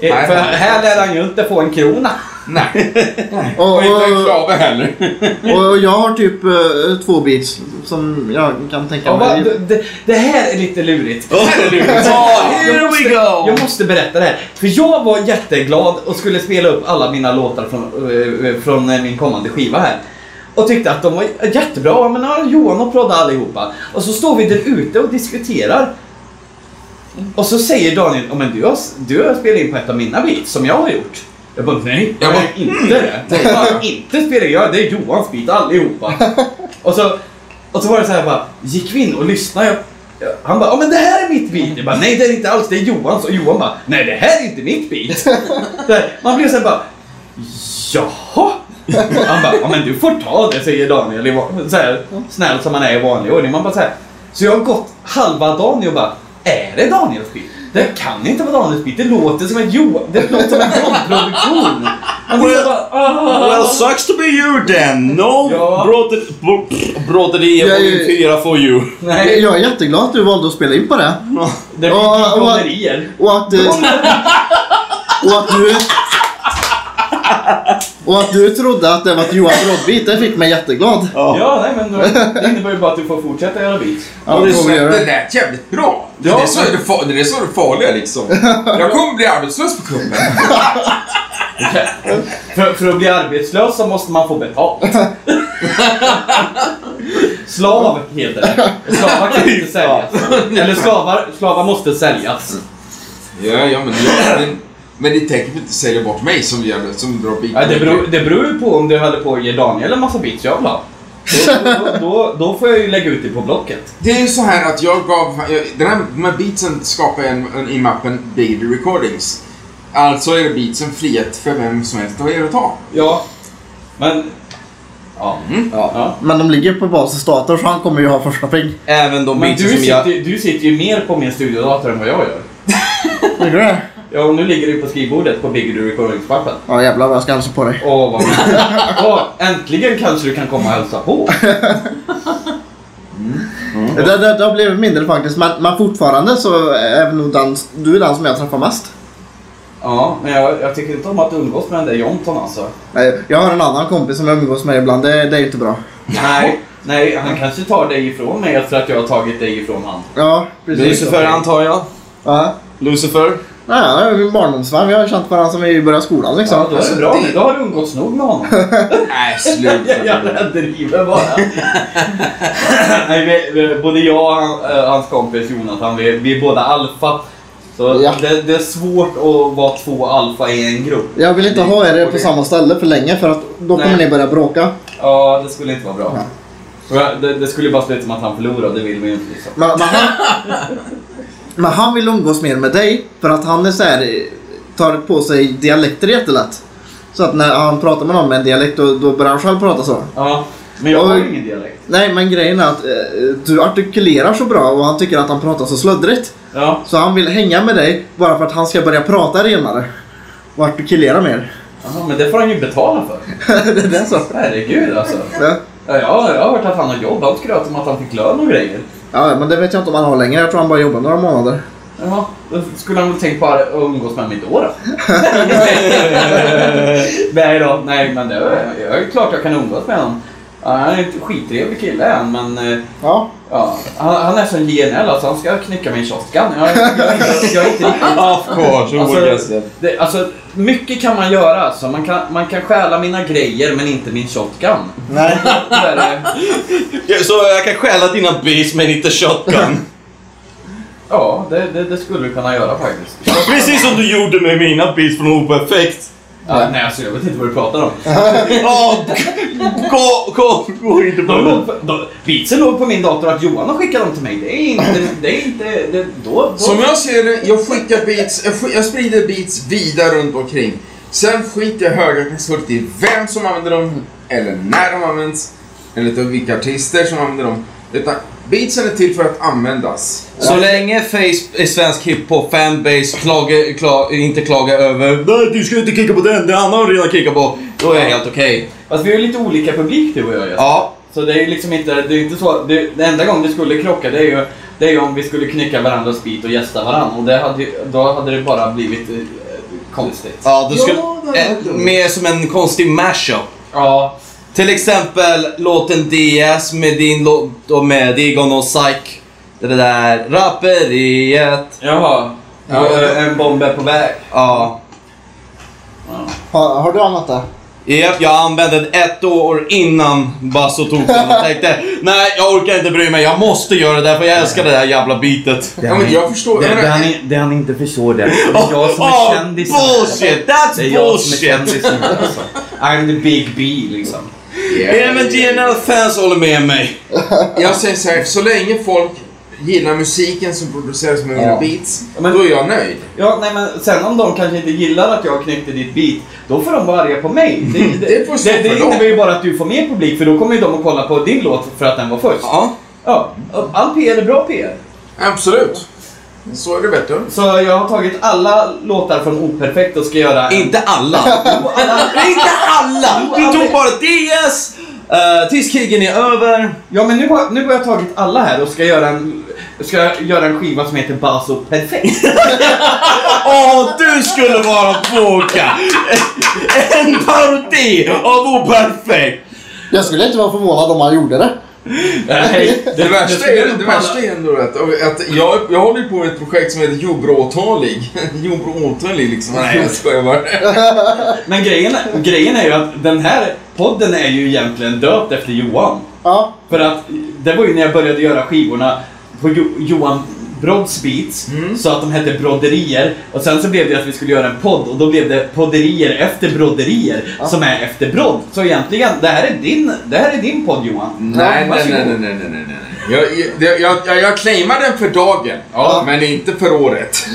Eh, Nej, För nej. här lär han ju inte få en krona. Nej. Och, Och inte en och, klave heller. och jag har typ eh, två beats som jag kan tänka Ja, va, mig. det- det, det här är lite lurigt. Oh, here Jag måste- we go! Jag måste berätta det här. För jag var jätteglad och skulle spela upp alla mina låtar från, eh, från eh, min kommande skiva här. Och tyckte att de var jättebra. Ja, Men ja, Johan och prodda allihopa. Och så står vi där ute och diskuterar. Och så säger Daniel, ja men du har, du har spelat in på ett av mina beats som jag har gjort. Jag bara, nej, jag Jag har bara, inte det. Jag har inte spelat in, jag, det är Johans beat allihopa. Och så, och så var det så här bara, gick vi in och lyssnade. Jag, jag- han bara, ja men det här är mitt beat. Jag bara, nej det är det inte alls, det är Johans. Och Johan bara, nej det här är inte mitt beat. Så här, Man blir så här bara, jaha? Han bara, ja men du får ta det säger Daniel. i va- Så här, snäll som han är i vanlig ordning. Man bara så här, så jag har gått halva dagen och bara, är det Daniels beat? Det kan inte vara Daniels beat, det låter som en Johan, det låter som en John-produktion. Man blir så här bara, "Ah." Well, sucks to be you then. No Ja. broderi Jag är- volym 4 for you. Nej, Jag är jätteglad att du valde att spela in på det. det blir Ja, oh, och- Och att, eh, och att du... Och att du trodde att det var ett Johan Brodbit, det fick mig jätteglad. Ja, nej men då- det innebär ju bara att du får fortsätta göra beat. Ja, Och det det, får vi göra. det lät jävligt bra. Det, är så, det, fa- det är så det farliga liksom. Jag kommer bli arbetslös på kuppen. För, för att bli arbetslös så måste man få betalt. Slav heter det. Slavar kan inte säljas. Eller slavar, slavar måste säljas. Ja, ja men, jag, men, men ni tänker väl inte sälja bort mig som, jävla, som drar bitar? Ja, det, beror, det beror ju på om du håller på att ge Daniel en massa beats jag vill ha. Då, då, då, då får jag ju lägga ut det på Blocket. Det är ju så här att jag gav... Jag, den här, de här beatsen skapar jag en, en, i mappen Bigger Recordings. Alltså är beatsen frihet för vem som helst att göra och ta. Ja. Men... Ja. ja. Men de ligger på basens dator så han kommer ju ha första peng. Även de Men bitar du som sitter, jag... ju- du sitter ju mer på min studiodator än vad jag gör. Ligger det? Ja, och nu ligger du på skrivbordet på Bigger Du Recordings-mappen. Ja jävlar vad jag ska hälsa på dig. Åh, vad mysigt. Åh, äntligen kanske du kan komma och hälsa på. Mm. Det, det, det har blivit mindre faktiskt men, men fortfarande så är väl nog den, du är den som jag träffar mest. Ja, men jag, jag tycker inte om att umgås med den där Jonton alltså. Nej, Jag har en annan kompis som jag umgås med ibland, det, det är ju inte bra. Nej, nej, han kanske tar dig ifrån mig efter att jag har tagit dig ifrån han. Ja, precis. Lucifer antar jag. Ja. Lucifer. Nej, ja, det är min barndomsvän, vi har känt varandra sedan vi började skolan liksom. Ja, då är det bra nu. Då har du umgåtts nog med honom. Nej, sluta. Jag jävla driver bara. nej, vi, vi, både jag och han, eh, hans kompis Jonathan, vi, vi är båda alfa. Så Ja. det, det är svårt att vara två alfa i en grupp. Jag vill inte ha er på samma ställe för länge för att då kommer Nej. ni börja bråka. Ja, det skulle inte vara bra. Och jag- Det, det skulle ju bara sluta med att han förlorar och det vill vi ju inte. Liksom. Men, men, han, men han vill umgås mer med dig för att han är så här, eh, tar på sig dialekter jättelätt. Så att när han pratar med någon med en dialekt då, då börjar han själv prata så. Ja, men jag har Och- ingen dialekt. Nej men grejen är att eh, du artikulerar så bra och han tycker att han pratar så sluddrigt. Ja. Så han vill hänga med dig bara för att han ska börja prata renare. Och artikulera mer. Jaha, men det får han ju betala för. det är det så. Herregud alltså. Ja. Ja, jag, jag har hört att han har jobb. Han skröt om att han fick lön och grejer. ja men det vet jag inte om han har längre. Jag tror han bara jobbar några månader. Jaha, då skulle han väl tänkt på att umgås med mig då då? nej då, nej men det är, jag är klart jag kan umgås med honom. Ja, Han är en skittrevlig kille är han, men eh, Ja. ja, han, han är som JNL alltså, han ska knycka min shotgun. Jag, jag, jag, är- jag är inte riktigt Of course, Alltså, Det, alltså, mycket kan man göra. Alltså. Man, kan, man kan stjäla mina grejer, men inte min shotgun. Nej. Där eh, är- Så jag kan stjäla dina beats men inte shotgun. ja, det, det, det skulle du kunna göra faktiskt. Precis som du gjorde med mina beats från Operfekt. Ja, nej, alltså, jag vet inte vad du pratar om. Oh, gå, gå, gå inte på De det. låg på, de, vitsen låg på min dator att Johan har skickat dem till mig. Det är inte... Det är inte det, då, då. Som jag ser det, jag skickar beats, jag, sk- jag sprider beats vida runt omkring. Sen skiter jag högaktningsfullt i vem som använder dem, eller när de används, eller utav vilka artister som använder dem. Utan beatsen är till för att användas. Så länge face, eh, svensk hiphop fanbase klagar, kla, inte klagar över Nej, du ska inte kicka på den, den andra har du redan kickat på. Då är jag helt okej. Fast Alltså, vi är ju lite olika publik du och jag. Ja. Ja, Så det är ju liksom inte... Det är ju inte så... Det, det enda gången det skulle krocka det är ju... Det är ju om vi skulle knycka varandras bit och gästa varandra. Och det hade, ju- då hade det bara blivit eh, konstigt. Ja, du skulle... Ja, det är eh, dumt. mer som en konstig mashup. Ja, Till exempel låten DS med din låt och med Digon och Psych. Det där rapperiet. jaha. Ja. Eh, En bomb är på väg. Ja. Har, har du annat där? Yep, jag använde den ett år innan Basso tog den och tänkte nej jag orkar inte bry mig, jag måste göra det för jag älskar det där jävla bitet. Ja, men jag förstår. Det, Jag det, menar, han, i- det han inte förstår det. Det är jag som Åh, är kändisen. Bullshit! Det är That's jag som är bullshit! kändisen. Alltså. I'm the big B liksom. Även GNL-fans håller med mig. Jag säger så här, så länge folk gillar musiken som produceras med mina beats, Men- då är jag nöjd. Ja, nej men sen om de kanske inte gillar att jag knäckte ditt beat, då får de vara arga på mig. Det, det, Det får stå det, det för dem. innebär ju bara att du får mer publik, för då kommer ju de att kolla på din låt för att den var först. Ja. Ja, all PR är bra PR. Absolut. Så är det bättre. Så jag har tagit alla låtar från Operfekt och ska göra en... Inte alla. Inte alla! Du tog bara DS, uh, Tills-krigen är över. Ja men nu har, nu har jag tagit alla här och ska göra en, ska göra en skiva som heter Basso Perfekt. Åh, du skulle vara Boka! En parodi av Operfekt! Jag skulle inte vara förvånad om han gjorde det. Nej, Det värsta skulle är, nog det palla- värsta är ändå att, att jag, jag håller ju på med ett projekt som heter Jordbråtalig. Jordbråtalig liksom. Nej, jag skojar bara. Men grejen, grejen är ju att den här podden är ju egentligen döpt efter Johan. Ja. För att det var ju när jag började göra skivorna på jo- Johan Brodds beats, så att de hette Broderier. Och sen så blev det att vi skulle göra en podd och då blev det Podderier efter Broderier, som är efter Brodd. Så egentligen, det här är din, det här är din podd Johan. Nej, nej, varsågod. nej, nej, nej, nej, nej, nej. Jag, jag- det- jag, jag, jag claimar den för dagen, ja, men inte för året.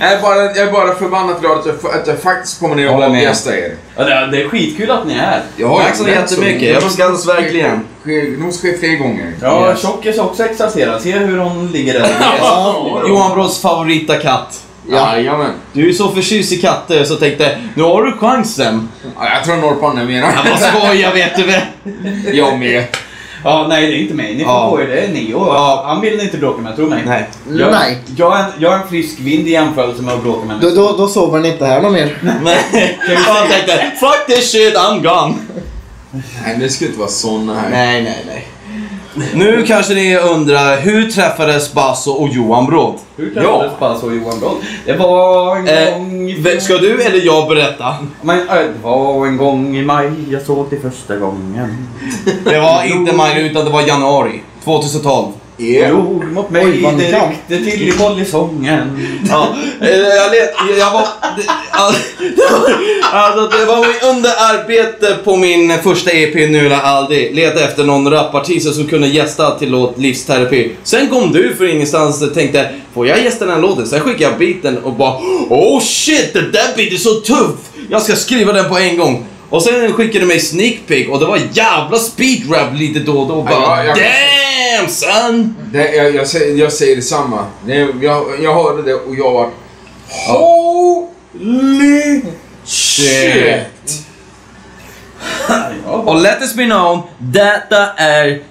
jag, är bara, jag är bara förbannat glad att jag, att jag faktiskt kommer ner Håller och med. gästar er. Ja, det, det är skitkul att ni är här. Jag har Tack så ju- jättemycket. Jag uppskattas verkligen. Ske- Nog ska ske fler gånger. Ja, Tjockis är också exalterad. Se hur hon ligger där. Johan Brås favorita katt. Ja. Jajamän. Du är så förtjust i katter så tänkte nu har du chansen. Ja, jag tror norrpan är Jag mera. bara skojar vet du väl. jag med. Ja, nej det är inte mig. Ni får Ja. på er det. Det är Neo. Ja. Han vill inte bråka med, tro mig. Nej. Jag, Nej. Jag är, en, jag är en frisk vind i jämförelse med att bråka med Då, då, då sover den inte här någon mer. Men jag tänkte fuck this shit I'm gone. Nej, det ska inte vara såna här. Nej, nej, nej. Nu kanske ni undrar hur träffades Basso och Johan Bråd? Hur träffades Basso och Johan Brodd? Det var en Eh, gång... i- ve- Ska du eller jag berätta? Men, eh, det var en gång i maj jag såg dig första gången. Det var inte maj utan det var januari 2012. Yeah. Drog mot mig, Oj, vad det kan. räckte till i volleysoffan. Ja, eh, jag, let, jag var... det- all- Alltså, det var under arbete på min första E EP Nula Aldi. Letade efter någon rapartist som kunde gästa till låt Livsterapi. Sen kom du för ingenstans och tänkte, får jag gästa den här låten? Sen skickade jag biten och bara, oh shit, det där biten är så tuff! Jag ska skriva den på en gång. Och sen skickade du mig sneak peek och det var jävla speedrap lite då och då. Bara, Ja, jag- damn son! Det, jag, jag, säger, jag säger detsamma. Det, jag, jag hörde det och jag var Holy shit! Och let us be known, detta är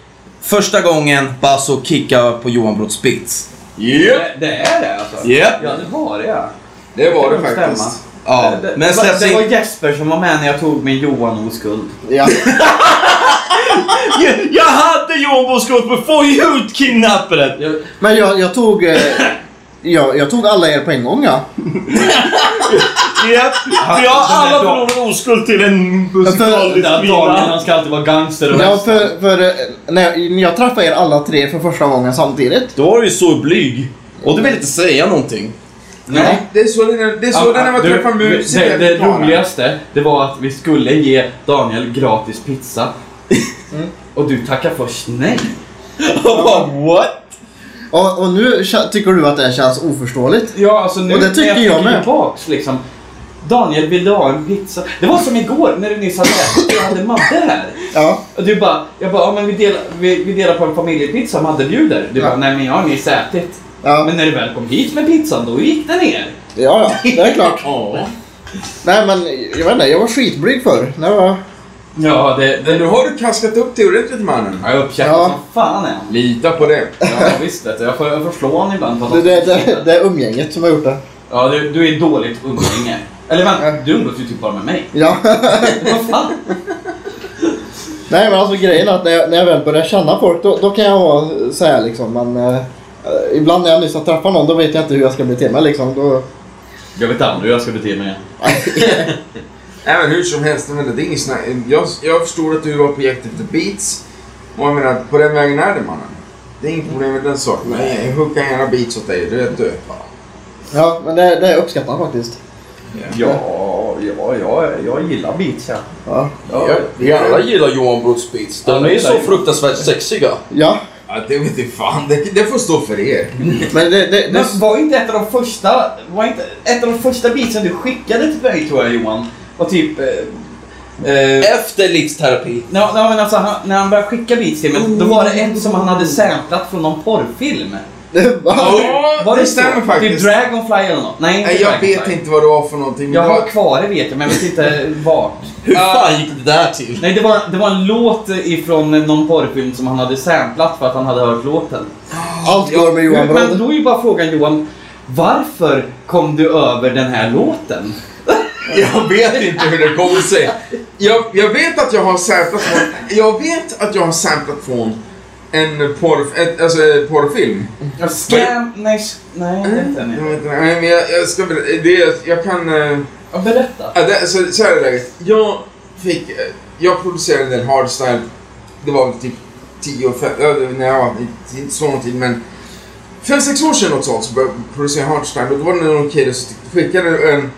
första gången Basso kickar på Johan Brott Spitz. Yep. Det, det är det alltså? Japp. Ja, det var det ja. Det var det kan nog stämma. faktiskt. Ja, Det- det, men det, var- släpps det var in... Jesper som var med när jag tog min Johan-oskuld. Ja. Jag hade Johan Brott Spitz men få ut kidnapparen! Jag, Men jag, jag tog... Eh, jag, jag tog alla er på en gång ja. Japp, för jag har alla förlorat oskuld till en Den musikalisk där dagen, han ska alltid vara gangster och Ja, för, för eh, när jag, när jag träffade er alla tre för första gången samtidigt. Då var du ju så blyg. Och du vill inte säga någonting. Nej. Det är så det är, det är så det är när man Du, träffar musiker. Det, det roligaste, det var att vi skulle ge Daniel gratis pizza. Och du tackar först nej. Jag bara, what? Och, och nu kä- tycker du att det här känns oförståeligt. Ja, alltså nu Och det tycker när jag med. tillbaks liksom. Daniel, vill du ha en pizza? Det var som igår när du nyss hade ätit, jag hade Madde här. Ja. Och du bara, jag bara, ja men vi delar, vi, vi delar på en familjepizza Madde bjuder. Du Ja. bara, nej men jag har nyss ätit. Ja, Men när du väl kom hit med pizzan, då gick den ner. ja, ja det är klart. Nej men jag vet inte, jag var skitblyg förr. Det var... Ja, det, Men det nu har du kaskat upp det ordentligt mannen. jag är uppkäftig Ja. som fan är han. Lita på det. Ja, visst vet du. Jag får, jag får slå honom ibland. på Det, något det, sätt. det, det är umgänget som har gjort det. Ja, du, du är dåligt umgänge. Eller vänta, du umgås ju typ bara med mig. Ja. Vad fan? Nej men alltså grejen är att när jag, när jag väl börjar känna folk då, då kan jag ha så här liksom men eh, Ibland när jag nyss har träffat någon då vet jag inte hur jag ska bete mig liksom. Då, Jag vet aldrig hur jag ska bete mig. Nej men hur som helst, jag menar, det är inget snack. Jag, jag förstod att du var på jakt efter beats. Och jag menar, på den vägen är det mannen. Det är inget problem med den saken. Men jag hookar gärna beats åt dig, det vet du. ja men det, det uppskattar jag faktiskt. Ja, ja, ja, jag gillar beats ja. Ja. Ja, Vi alla gillar Johan Bruts beats. De Alla är gillar så ju- fruktansvärt sexiga. ja. ja det vet jag fan. Det, det får stå för er. Men det, det, det, Men var inte ett av de första, var inte ett av de första beatsen du skickade till mig tror jag Johan? Var typ... Eh, eh, Efter livsterapi. Ja, ja, men alltså, han, när han började skicka beats till mig, då var det ett som han hade samplat från någon porrfilm. det, va? Ja, Var det så? stämmer Typ faktiskt. Dragonfly eller något. Nej, inte Nej, jag Dragonfly. vet inte vad det var för någonting. Jag men det har var- kvar det vet jag, men jag vet inte vart. Hur fan gick det där till? Nej, det var, det var en låt ifrån någon porrfilm som han hade samplat för att han hade hört låten. Allt går med Johan Men Brodd. då är ju bara frågan Johan, varför kom du över den här låten? Jag vet inte hur det kommer sig. Jag, jag vet att jag har samplat från, jag vet att jag har samplat från en porr, ett, alltså, eh, porrfilm. Scam... Nej, s- nej, jag vet inte Jag, än. vet inte, nej, men jag, jag ska ber- det, jag kan, eh, Ja, Berätta. ja, det, så, så här är läget. Jag fick, eh, jag producerade en del hardstyle, det var väl typ 10 och 5, när jag var, inte så lång tid men 5-6 år sedan något sånt så började jag producera hardstyle och då var det någon kille som skickade en,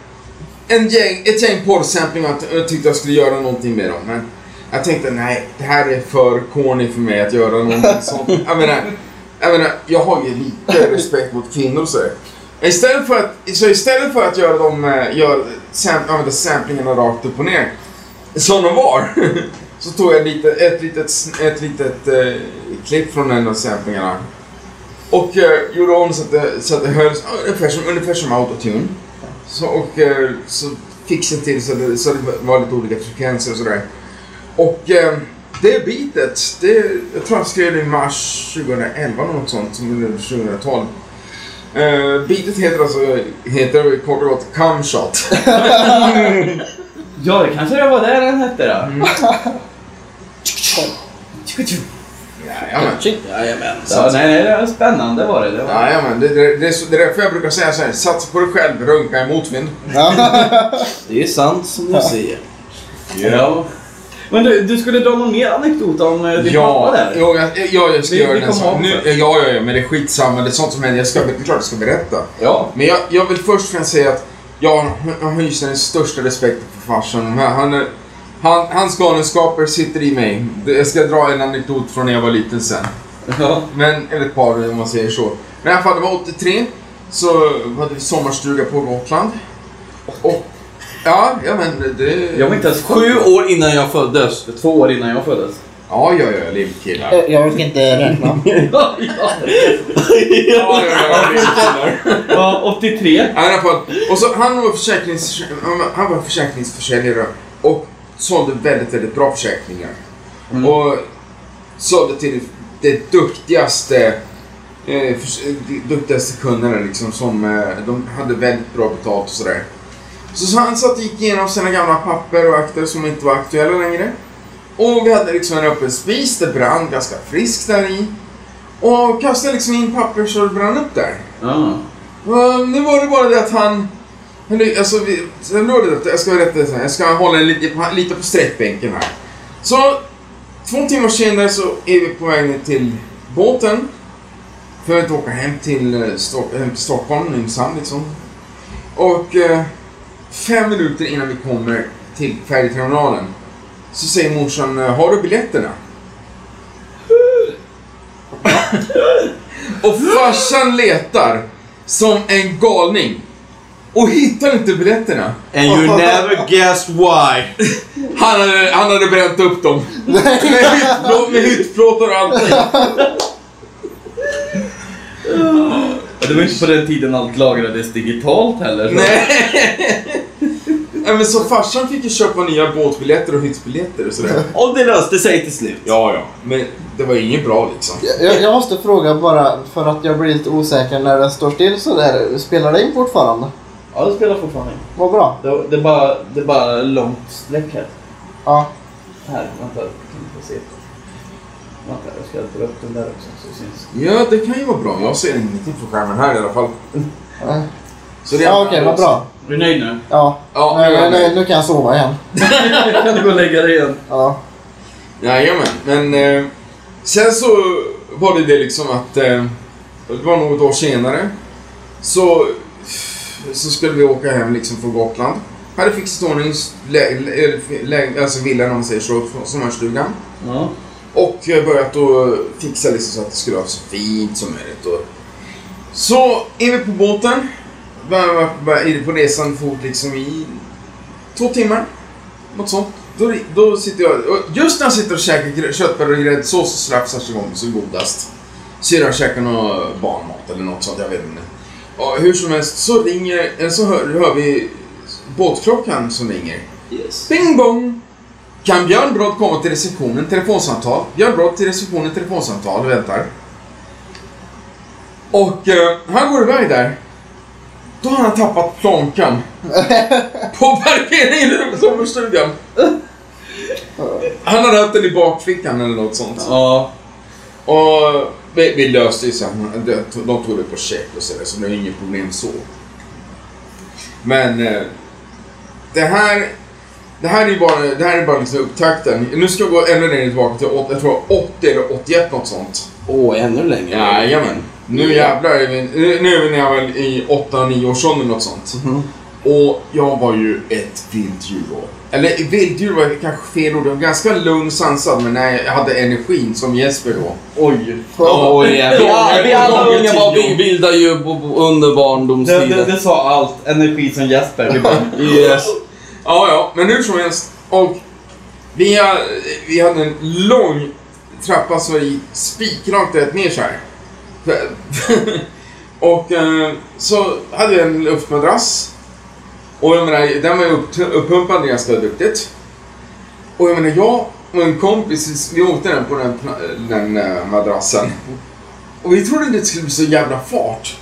en gäng, ett gäng porrsamplingar och jag tyckte jag skulle göra någonting med dem. Men jag tänkte nej, det här är för corny för mig att göra någonting sånt. Jag menar, jag menar, jag har ju lite respekt mot kvinnor och sådär. Istället för att, så istället för att göra dem, eh, gör, sam, använda samplingarna rakt upp och ner, som de var, så tog jag lite, ett litet, sn- ett litet eh, klipp från en av samplingarna. Och eh, gjorde om så att det, så att det hölls ja, ungefär som, ungefär som autotune. Så, och eh, så fixade till så att det, så att det var lite olika frekvenser och sådär. Och eh, det bitet, det, jag tror jag skrev det i mars 2011 eller något sånt, som eller 2012. Uh, bitet heter alltså, heter kort och gott Come Shot. Ja, det kanske det var där den hette då. Jajamän. Jajamän. Ja, nej, nej, det var spännande var det. det var... Jajamän, det, det, det, är så- det är därför jag brukar säga så här, satsa på dig själv, runka i motvind. Ja. Det är sant som du säger. Ja. Men du, du skulle dra någon mer anekdot om eh, din pappa där? jo, jag, jag, jag ska Vi- göra vi den kommer saken. ihåg Nu, det. ja, ja, ja, men det är skitsamma, det är sånt som händer. Jag ska, det är klart jag ska berätta. Ja. Men jag, jag vill först och främst säga att jag hy- jag hyser den största respekten för farsan. Han, han, är- han, hans galenskaper sitter i mig. Det- Jag ska dra en anekdot från när jag var liten sen. ja. Men, eller ett par om man säger så. Men i alla fall, det var 83. Så hade vi sommarstuga på Gotland. Och, ja, ja men det... Jag var inte ens Sju år innan jag föddes. Två år innan jag föddes. Ja, ja, ja, lillkillar. Ja, Jag orkar inte räkna. ja, ja, ja, lillkillar. ja, 83. Ja, i alla fall. Och så han var, försäkrings, han var försäkringsförsäljare och sålde väldigt, väldigt bra försäkringar. Och sålde till det duktigaste eh, förs- de duktigaste kunderna liksom som eh, de hade väldigt bra betalt och sådär. Så, så han satt och gick igenom sina gamla papper och akter som inte var aktuella längre. Och vi hade liksom en öppen spis, det brann ganska friskt där i. Och kastade liksom in papper så det brann upp där. Ja. Ja, Nu var det bara det att han... han ly- Alltså, vi, sen var det att jag ska rätta det här. Jag ska hålla en lite, på- lite på sträckbänken här. Så, två timmar senare så är vi på väg ner till båten. För att åka hem till, eh, Sto- hem till Stockholm, Nynäshamn liksom. Och eh, fem minuter innan vi kommer till färjeterminalen så säger morsan, eh, har du biljetterna? Och farsan letar som en galning. Och hittar inte biljetterna. And you never guess why. Han hade, han hade bränt upp dem. med, hyttplå, med hyttplåtar och allting. Och det var inte på den tiden allt lagrades digitalt heller. så- Nej. Nej, men så farsan fick ju köpa nya båtbiljetter och hyttbiljetter och sådär. Och det löste sig till slut. Ja, ja. Men det var inget bra liksom. Jag, jag måste fråga bara för att jag blir lite osäker när den står still så där. Spelar det in fortfarande? Ja, det spelar fortfarande. Vad bra. Det, det, är bara, det är bara långt streck här. Ja. Här, vänta. Vi får se. Vänta, jag ska dra upp den där också så syns. Ja, det kan ju vara bra. Jag ser ingenting på skärmen här i alla fall. Ja. Så det är- Ja, okej, vad bra. Du är nöjd nu? Ja. Ja, Nej, nu är nej, jag nej, nöjd. nu kan jag sova igen. Kan du gå och lägga dig igen? Ja. Jajamän, men eh, sen så var det det liksom att eh, det var något år senare så, så skulle vi åka hem liksom från Gotland. Hade fixat ordning lä- lä- lä- alltså villan om man säger så, från sommarstugan. Ja. Och eh, börjat att fixa liksom så att det skulle vara så fint som möjligt. Och så är vi på båten. Bara- bara- bara Är det på resan fort liksom i två timmar. Något sånt. Då, då sitter jag... och Just när jag sitter och käkar grö- köttbullar och gräddsås så slafsar igång som godast. Syrran käkar någon barnmat eller något sånt, jag vet inte. Och hur som helst så ringer... Eller så hör, hör vi båtklockan som ringer. Yes. Bing bong! Kan Björn Brott komma till receptionen? Telefonsamtal. Björn Brott till receptionen, telefonsamtal. Väntar. Och eh, han går iväg där. Då har han tappat plånkan. på parkeringen i sommarstugan. Han hade haft den i bakfickan eller något sånt. Ja. Och vi, vi löste ju sen. De de tog det på check och sådär, så det var inget problem så. Men eh, det här... Det här är ju bara, det här är bara liksom upptakten. Nu ska jag gå ännu längre tillbaka till åt- jag tror 80 eller 81 något sånt. Åh, oh, ännu längre. Jajamän. Nu jävlar är vi, nu- nu är vi när jag väl i 8-9 års ålder något sånt. Och jag var ju ett vilddjur då. Eller vilddjur var kanske fel ord. Jag var ganska lugn sansad men nej, jag hade energin som Jesper då. Oj. Åh, jävlar. Ja, vi alla gånger unga var tio. vi- vilda ju bo- bo- under Det, det, barndomstiden. det sa allt. Energi som Jesper. Det bara, Yes. Ja, ja, men hur som helst. Och vi, eh, vi hade en lång trappa som gick spikrakt rätt ner så här. och eh, så hade jag en luftmadrass. Och jag menar, den var ju upp, uppumpad ganska duktigt. Och jag menar, jag och en kompis, vi åkte den på den, pla- den eh, madrassen. Och vi trodde det skulle bli så jävla fart.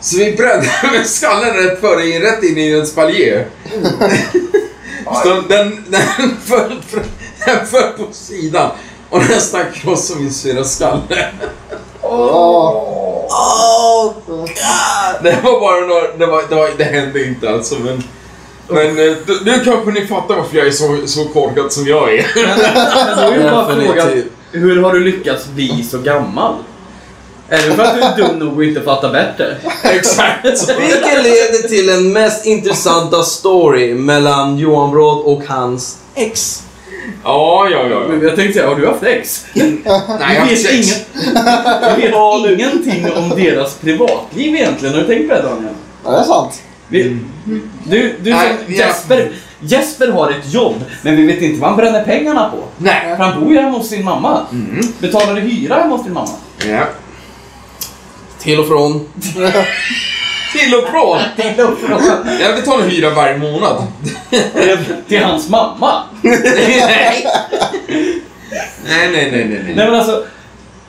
Så vi brände med skallen rätt före, in- rätt in i en spaljer. Mm. Så den, den, föll, fr- den föll på sidan och nästan krossade min syrras skalle. Ja. Det var bara några, det, var, det, var, det hände inte alltså men... Men eh, du- nu kanske ni fattar varför jag är så, så korkad som jag är. Men då är ju bara Definitivt. frågan, hur har du lyckats bli så gammal? Är det för att du är dum nog och inte fattar bättre? Exakt. Vilket leder till den mest intressanta story mellan Johan Bråd och hans ex. Ja, ja, ja. Men jag tänkte säga, har du haft ex? Nej, Du har vet, sex. ingen, du vet ingenting om deras privatliv egentligen. Har du tänkt på det Daniel? ja, det är sant. Vi, du, du Mm. Nej, som vi har- Jesper, Jesper har ett jobb, men vi vet inte vad han bränner pengarna på. Nej. För han bor ju hemma hos sin mamma. Mm. Betalar du hyra hemma hos din mamma? Ja. Till och från. Till och från. Jag betalar hyra varje månad. Till hans mamma? Nej. Nej, nej, nej, nej. nej. Nej men alltså,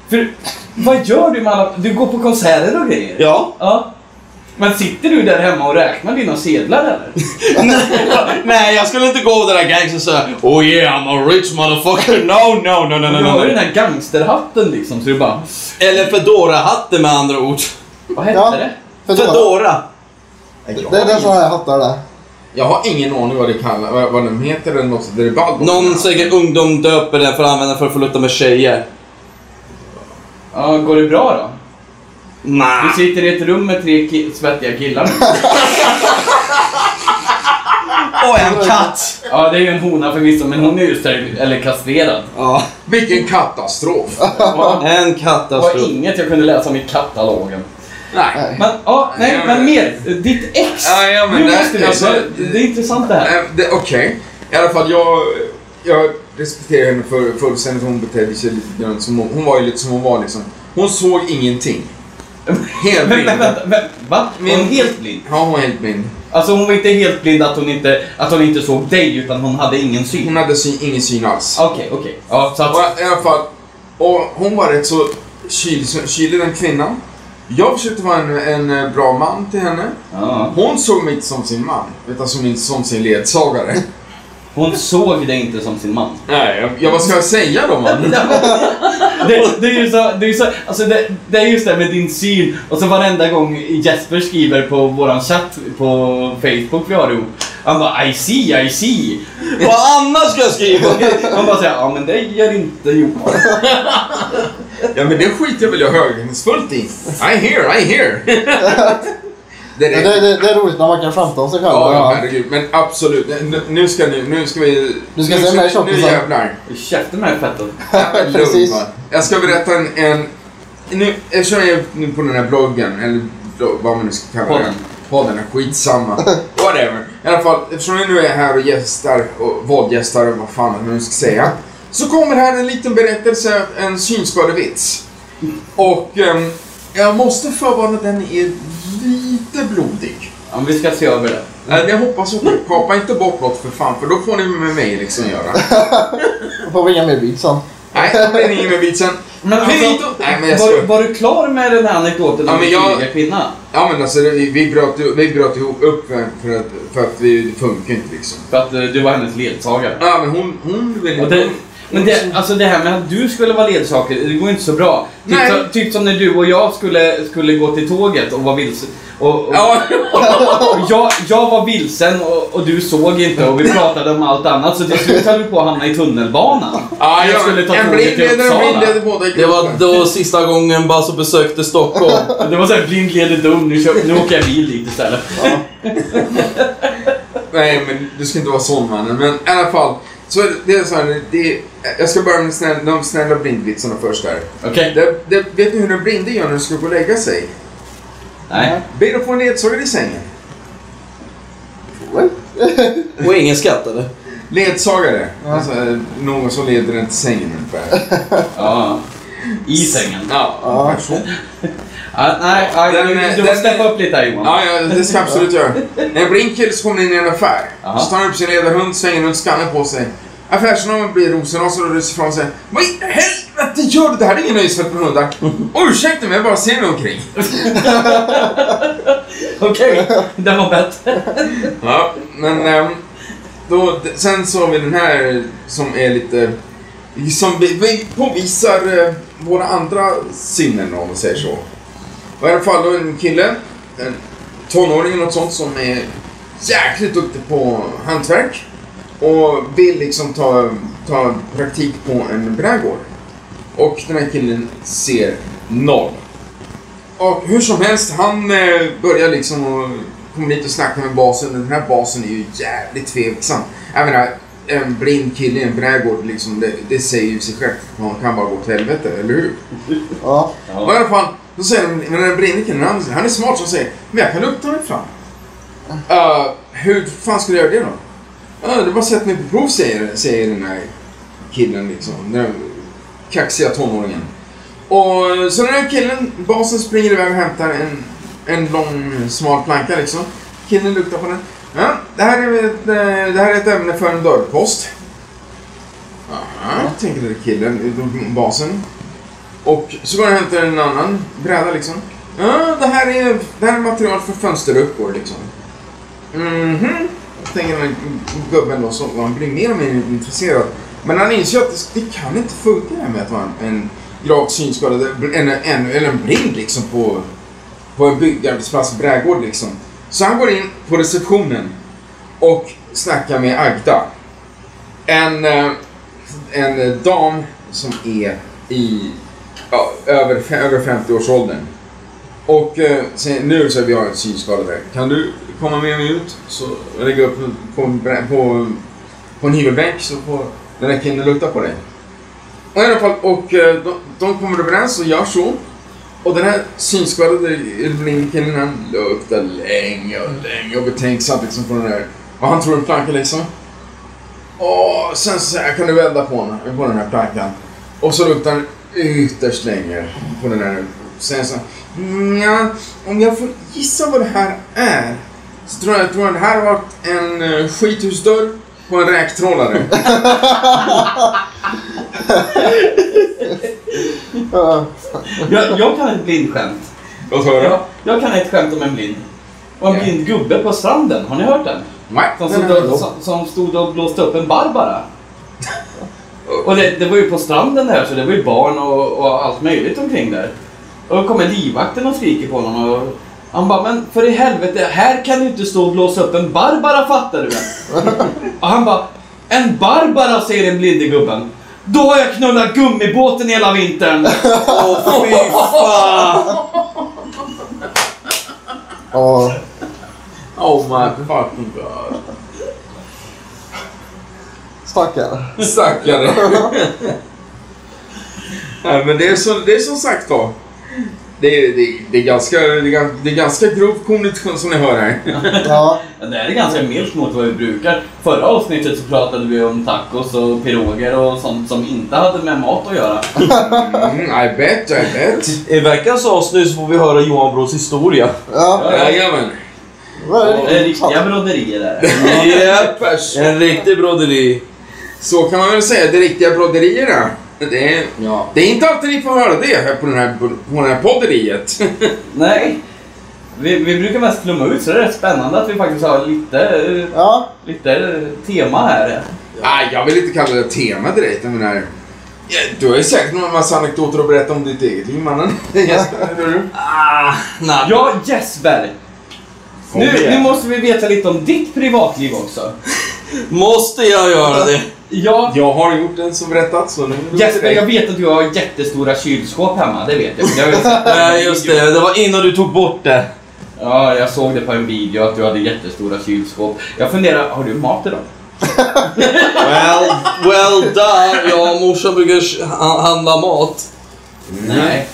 för, vad gör du med alla... Du går på konserter och grejer? Ja. Ja. Men sitter du där hemma och räknar dina sedlar eller? Nej, jag skulle inte gå den där gangstern såhär Oh yeah, I'm a rich motherfucker. No, no, no, no, Du no, har ju no. den här gangsterhatten liksom så du bara... Eller Fedora-hatten med andra ord. Vad hette Ja. det? Fedora. Fedora. Det är det som jag hattar där. Jag har ingen aning vad det kallas, vad, vad den heter eller något sånt. Det är Balbo. Någon säkert ungdom döper den för att använda för att förlutta med tjejer. Ja, går det bra då? Nah. Du Ah. sitter i ett rum med tre ki- svettiga killar. Och en katt. Ja, det är ju en hona förvisso, men hon är ju steril, eller kastrerad. Ja. Vilken katastrof. Ja, En Det var katastrof. inget jag kunde läsa om i katalogen. Nej. Men, ja, nej, men mer. Ditt ex. Ja, ja, men nu det- måste vi. alltså, det, det är intressant det här. Nej, eh, det- Okej. I alla fall, jag, jag respekterar henne för fullständigt. Hon betedde sig lite grann som hon, hon var ju lite som hon var liksom. Hon såg ingenting. Helt Men, blind. men, vänta, vänta, va? Var Men- hon helt blind? Ja, hon var helt blind. Alltså hon var inte helt blind att hon inte, att hon inte såg dig utan hon hade ingen syn. Hon hade syn, ingen syn alls. Okej, okej. Ja, så att, Och I alla fall, och hon var rätt så kylig, kylig den kvinnan. Jag försökte vara en, en bra man till henne. Ja. Hon såg mig inte som sin man, utan som, min, som sin ledsagare. Hon såg dig inte som sin man. Nej, jag, jag, vad ska jag säga då man? Det, det är ju så, det är ju så alltså det, det är just det med din syn. Och så varenda gång Jesper skriver på våran chatt på Facebook vi har ihop. Han bara I see, I see. Vad annars ska jag skriva? Han bara säger ja men det gör inte Johan. Ja men det skiter jag väl jag högningsfullt i. I'm here, I'm here. det Det, är det. det, det är roligt när man kan skämta om sig själv. Ja, ja, herregud. Men absolut. Nu, nu ska ni, nu ska vi... Du ska nu, säga mig Nu tjockisan. jävlar. Käften med fetten. Precis. Lugn, va. Jag ska berätta en... en nu, eftersom jag är nu på den här bloggen, eller blogg- vad man nu ska kalla Podden. den. Podden är skitsamma. Whatever. I alla fall, eftersom jag nu är här och gästar, och våldgästar och vad fan man nu ska säga. Så kommer här en liten berättelse, en synskadevits. Och ehm, jag måste förvarna den är lite blodig. Ja, men vi ska se över det. Nej, men Jag hoppas att kapa inte bort något för fan, för då får ni med mig liksom göra. Då får vi inga mer beats sen. Nej, då blir det ingen med vitsen. Men Finito! alltså, Nej, men jag var, skojar. var du klar med den här anekdoten Ja, om men jag- ja, kvinna? Ja men alltså det- vi, vi, bröt, ju- vi bröt ihop upp för, för, att, för att vi, det funkar inte liksom. För att eh, du var hennes ledsagare. Ja men hon, hon ville Och det, men det, alltså det här med att du skulle vara ledsagare, det går inte så bra. Typ, Nej. som- typ som när du och jag skulle, skulle gå till tåget och var vilse. Och, och, Ja, och jag, jag var vilsen och, och du såg inte och vi pratade om allt annat så till slut höll vi på att hamna i tunnelbanan. ja, Jag jag skulle ta en tåget blind till leder och en blind Uppsala. leder båda i Det var gruppen. då sista gången Basso besökte Stockholm. Det var såhär blind leder dum, nu, kör, nu åker jag bil dit istället. Nej men du ska inte vara sån mannen. Men i alla fall. Så är det- det är så här, det, jag ska börja med snäll, de snälla blindvitsarna först där. Okej? Det, det, vet ni hur den blinde gör när den ska gå och lägga sig? Nej. Ber att få en ledsagare i sängen. Och ingen skrattade. Ledsagare. Alltså, eh, någon som leder den till sängen ungefär. Ja. I sängen. Ja, ungefär så. Ja, nej, ja, Den, du, eh, du får den- steppa upp lite här Johan. Ja, ja, det ska jag absolut göra. När Brinkel så kommer in i en affär. Aha. Så tar han upp sin ledarhund, svänger runt skallen på sig. Affärsmannen blir rosenrasande och ryser ifrån sig. Vad i helvete gör du? Det här är ingen nöjesfält med hundar. Oh, ursäkta mig, jag bara ser mig omkring. Okej, den var bättre. Ja, men ehm, då, d- sen så har vi den här som är lite... Som vi, vi påvisar eh, våra andra sinnen om man säger så. Och I alla fall då en kille, en tonåring eller något sånt som är jäkligt duktig på hantverk. Och vill liksom ta, ta praktik på en brädgård. Och den här killen ser noll. Och hur som helst, han eh, börjar liksom och kommer dit och snackar med basen. Den här basen är ju jävligt tveksam. Jag menar, en blind kille i en brädgård, liksom, det, det säger ju sig självt. Man kan bara gå till helvete, eller hur? Ja. Och i alla fall, då säger de, men den blinde killen, han, han är smart som säger, men jag kan lukta mig fram. Uh, hur fan skulle jag göra det då? Uh, det bara sätt mig på prov, säger, säger den här killen liksom. Den här kaxiga tonåringen. Och så den här killen, basen springer iväg och hämtar en, en lång smal planka liksom. Killen luktar på den. Ja, det, här är ett, eh, det här är ett ämne för en dörrpost. Aha, tänker den här killen, basen. Och så går han och hämtar en annan bräda liksom. Ja, det här är, det här är material för fönsterluckor liksom. Mhm. Tänker den gubben då, så han blir mer och mer intresserad. Men han inser att det, det kan inte funka det här med att vara en, en gravt synskadad, en, en, eller en blind liksom på, på en byggarbetsplats, brädgård liksom. Så han går in på receptionen och snackar med Agda. En, eh, en eh, dam som är i ja, över, fe- över 50-årsåldern. Och eh, säger, nu så här, vi har ett synskadad här. Kan du komma med mig ut? Så lägger jag upp på, en brä- på, på en hyvelbänk så får den här killen lukta på dig. Och i alla fall, och eh, de, de kommer överens och gör så. Och den här synskadade killen han luktar länge och länge och betänksamt liksom på den där. Och han tror en planka liksom. Och sen så här, kan du vända på den, på den här plankan. Och så luktar den ytterst länge på den här. Sen så, nja, om jag får gissa vad det här är. Så tror jag, tror jag det här har varit en eh, skithusdörr på en räktrålare. Ja. Jag, jag kan ett blindskämt. Låt höra. Ja, jag kan ett skämt om en blind. Och en Ja. blind gubbe på stranden, har ni hört den? Nej. Som stod, och, som, som stod och blåste upp en Barbara. Och det, det var ju på stranden där, så det var ju barn och, och allt möjligt omkring där. Och då kommer livvakten och skriker på honom och han bara, men för i helvete, här kan du inte stå och blåsa upp en Barbara fattar du väl? och han bara, en Barbara säger den blinde gubben. Då har jag knullat gummibåten hela vintern. Åh, fy fan! Ja. Oh my fucking god. Stackare. Stackare. Nej men det är, så, det är som sagt då. Det är, det, det är, ganska, det är, gan- det är ganska grov kondition som ni hör här. Ja. Ja, Det här är ganska milt mot vad vi brukar. Förra avsnittet så pratade vi om tacos och piroger och sånt som inte hade med mat att göra. Mm, I bet, I bet. I veckans avsnitt så får vi höra Johan Brås historia. Ja. Jajamän. Vad är Det är Eh, riktiga broderier där. det? Japp! Pers. En riktig broderi. Så kan man väl säga, det riktiga broderierna. Det är, Ja. det är inte alltid ni får höra det här på, den här, på det här podderiet. Nej. Vi, vi brukar mest flumma ut så det är rätt spännande att vi faktiskt har lite, eh, Ja. lite eh, tema här. Nej, jag vill inte kalla det tema direkt. Jag menar, ja, du har ju säkert någon massa anekdoter att berätta om ditt eget liv, mannen. Ah, nej. Ja, Jesper! Nu, nu måste vi veta lite om ditt privatliv också. Måste jag göra det? Ja, Jag har gjort en som berättat, så nu... Jesper, jag vet att du har jättestora kylskåp hemma, det vet jag. jag vet att- Nej, just det. Det var innan du tog bort det. Ja, jag såg det på en video att du hade jättestora kylskåp. Jag funderar, har du mat i dem? Well, well done. Ja, morsan brukar sh- ha- handla mat. Nej.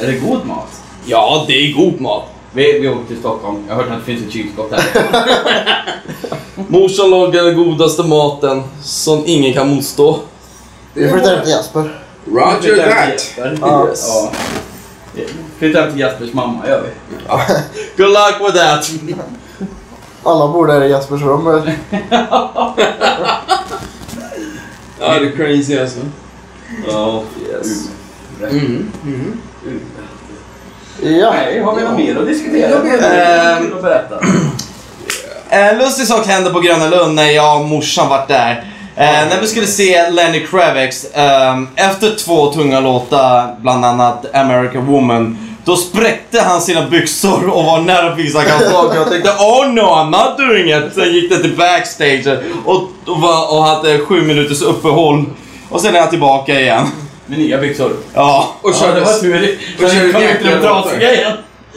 Är det god mat? Ja, det är god mat. Vi, vi åkte till Stockholm. Jag har hört att det finns ett kylskåp där. Morsan lagar den godaste maten som ingen kan motstå. Vi flyttar hem till Jesper. Roger that! Ja. Ja. Flyttar hem till Jaspers mamma gör vi. Good luck with that. Alla bor där i Jespers rum. Ja, det är crazy alltså. Ja. Yes. Mm. Mm. Ja. Nej, har vi något mer att diskutera? Ehm, Jag vet inte. vill berätta. En lustig sak hände på Gröna Lund när jag och morsan var där. Eh, när vi skulle se Lenny Kravitz, ehm, efter två tunga låtar, bland annat American Woman, då spräckte han sina byxor och var nära att visa kalsonger. Jag tänkte oh no, I'm not doing it. Sen gick det till backstage och, och, var, och hade sju minuters uppehåll. Och sen är han tillbaka igen. Med nya byxor. Ja. Och Ja, det körde... var tur. Men körde nu kom inte jäkla de trasiga igen.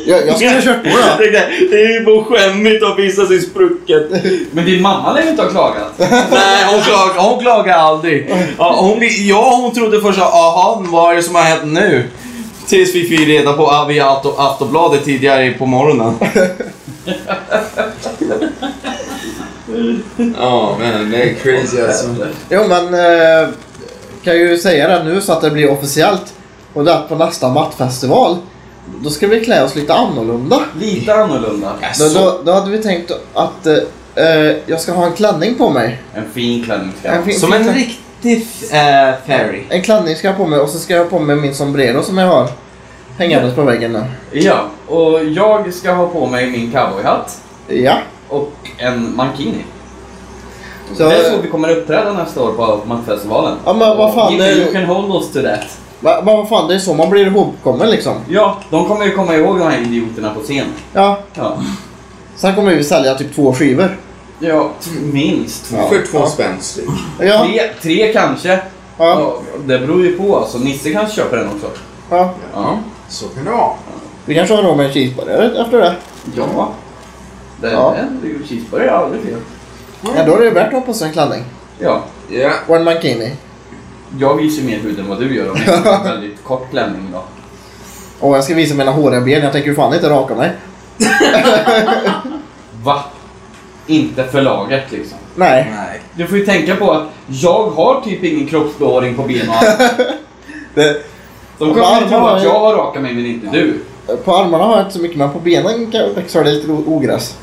Jag, jag skulle kört på Jag det. tänkte, det är ju bara skämmigt att visa sin sprucket. Men din mamma lär ju inte ha klagat. Nej, hon klagar, hon klagar aldrig. Ja, hon, blir- ja, hon trodde först att aha, vad är det som har hänt nu? Tills vi fick reda på ah, via Afto- Aftonbladet tidigare på morgonen. Ja, men det är crazy alltså. Jo men eh, kan ju säga det nu så att det blir officiellt. Och det är att på nästa mattfestival. Då ska vi klä oss lite annorlunda. Lite annorlunda. Då, då, då hade vi tänkt att eh, eh, jag ska ha en klänning på mig. En fin klänning ska jag ha. En, fin, Som en riktig äh, fairy. en klänning ska jag ha på mig och så ska jag ha på mig min sombrero som jag har hängandes på väggen nu. Ja, och jag ska ha på mig min cowboyhatt Ja. och en mankini. Så, det är så vi kommer uppträda nästa år på Mattfestivalen. Ja, men vad fan, You, det är ju- you can hold us to that. va, va, vad fan, det är så man blir ihågkommen liksom. Ja, de kommer ju komma ihåg de här idioterna på scen. Ja. Ja, Sen kommer vi sälja typ två skivor. ja t- minst. För två spänn styck. Ja. Tre, tre kanske. ja, Ja, det beror ju på alltså. Nisse kanske köper den också. ja. Ja. Så kan det vara. Vi kanske har råd med en cheeseburgare efter det. Ja. Det Ja. är ju cheeseburgare, aldrig fel. Ja, då är det värt att ha på sig en klänning. Ja, Ja. Och en mankini. jag visar mer hud än vad du gör om jag har en väldigt kort klänning då. Och jag ska visa mina håriga ben. Jag tänker ju fan inte raka mig. Va? Inte förlaget liksom. Nej. Nej. Du får ju tänka på att jag har typ ingen kroppsbehåring på benen och allt. Det- De kommer ju tro Varför? att jag har rakat mig men inte du. På armarna har jag inte så mycket, men på benen kan jag växa det lite o- ogräs.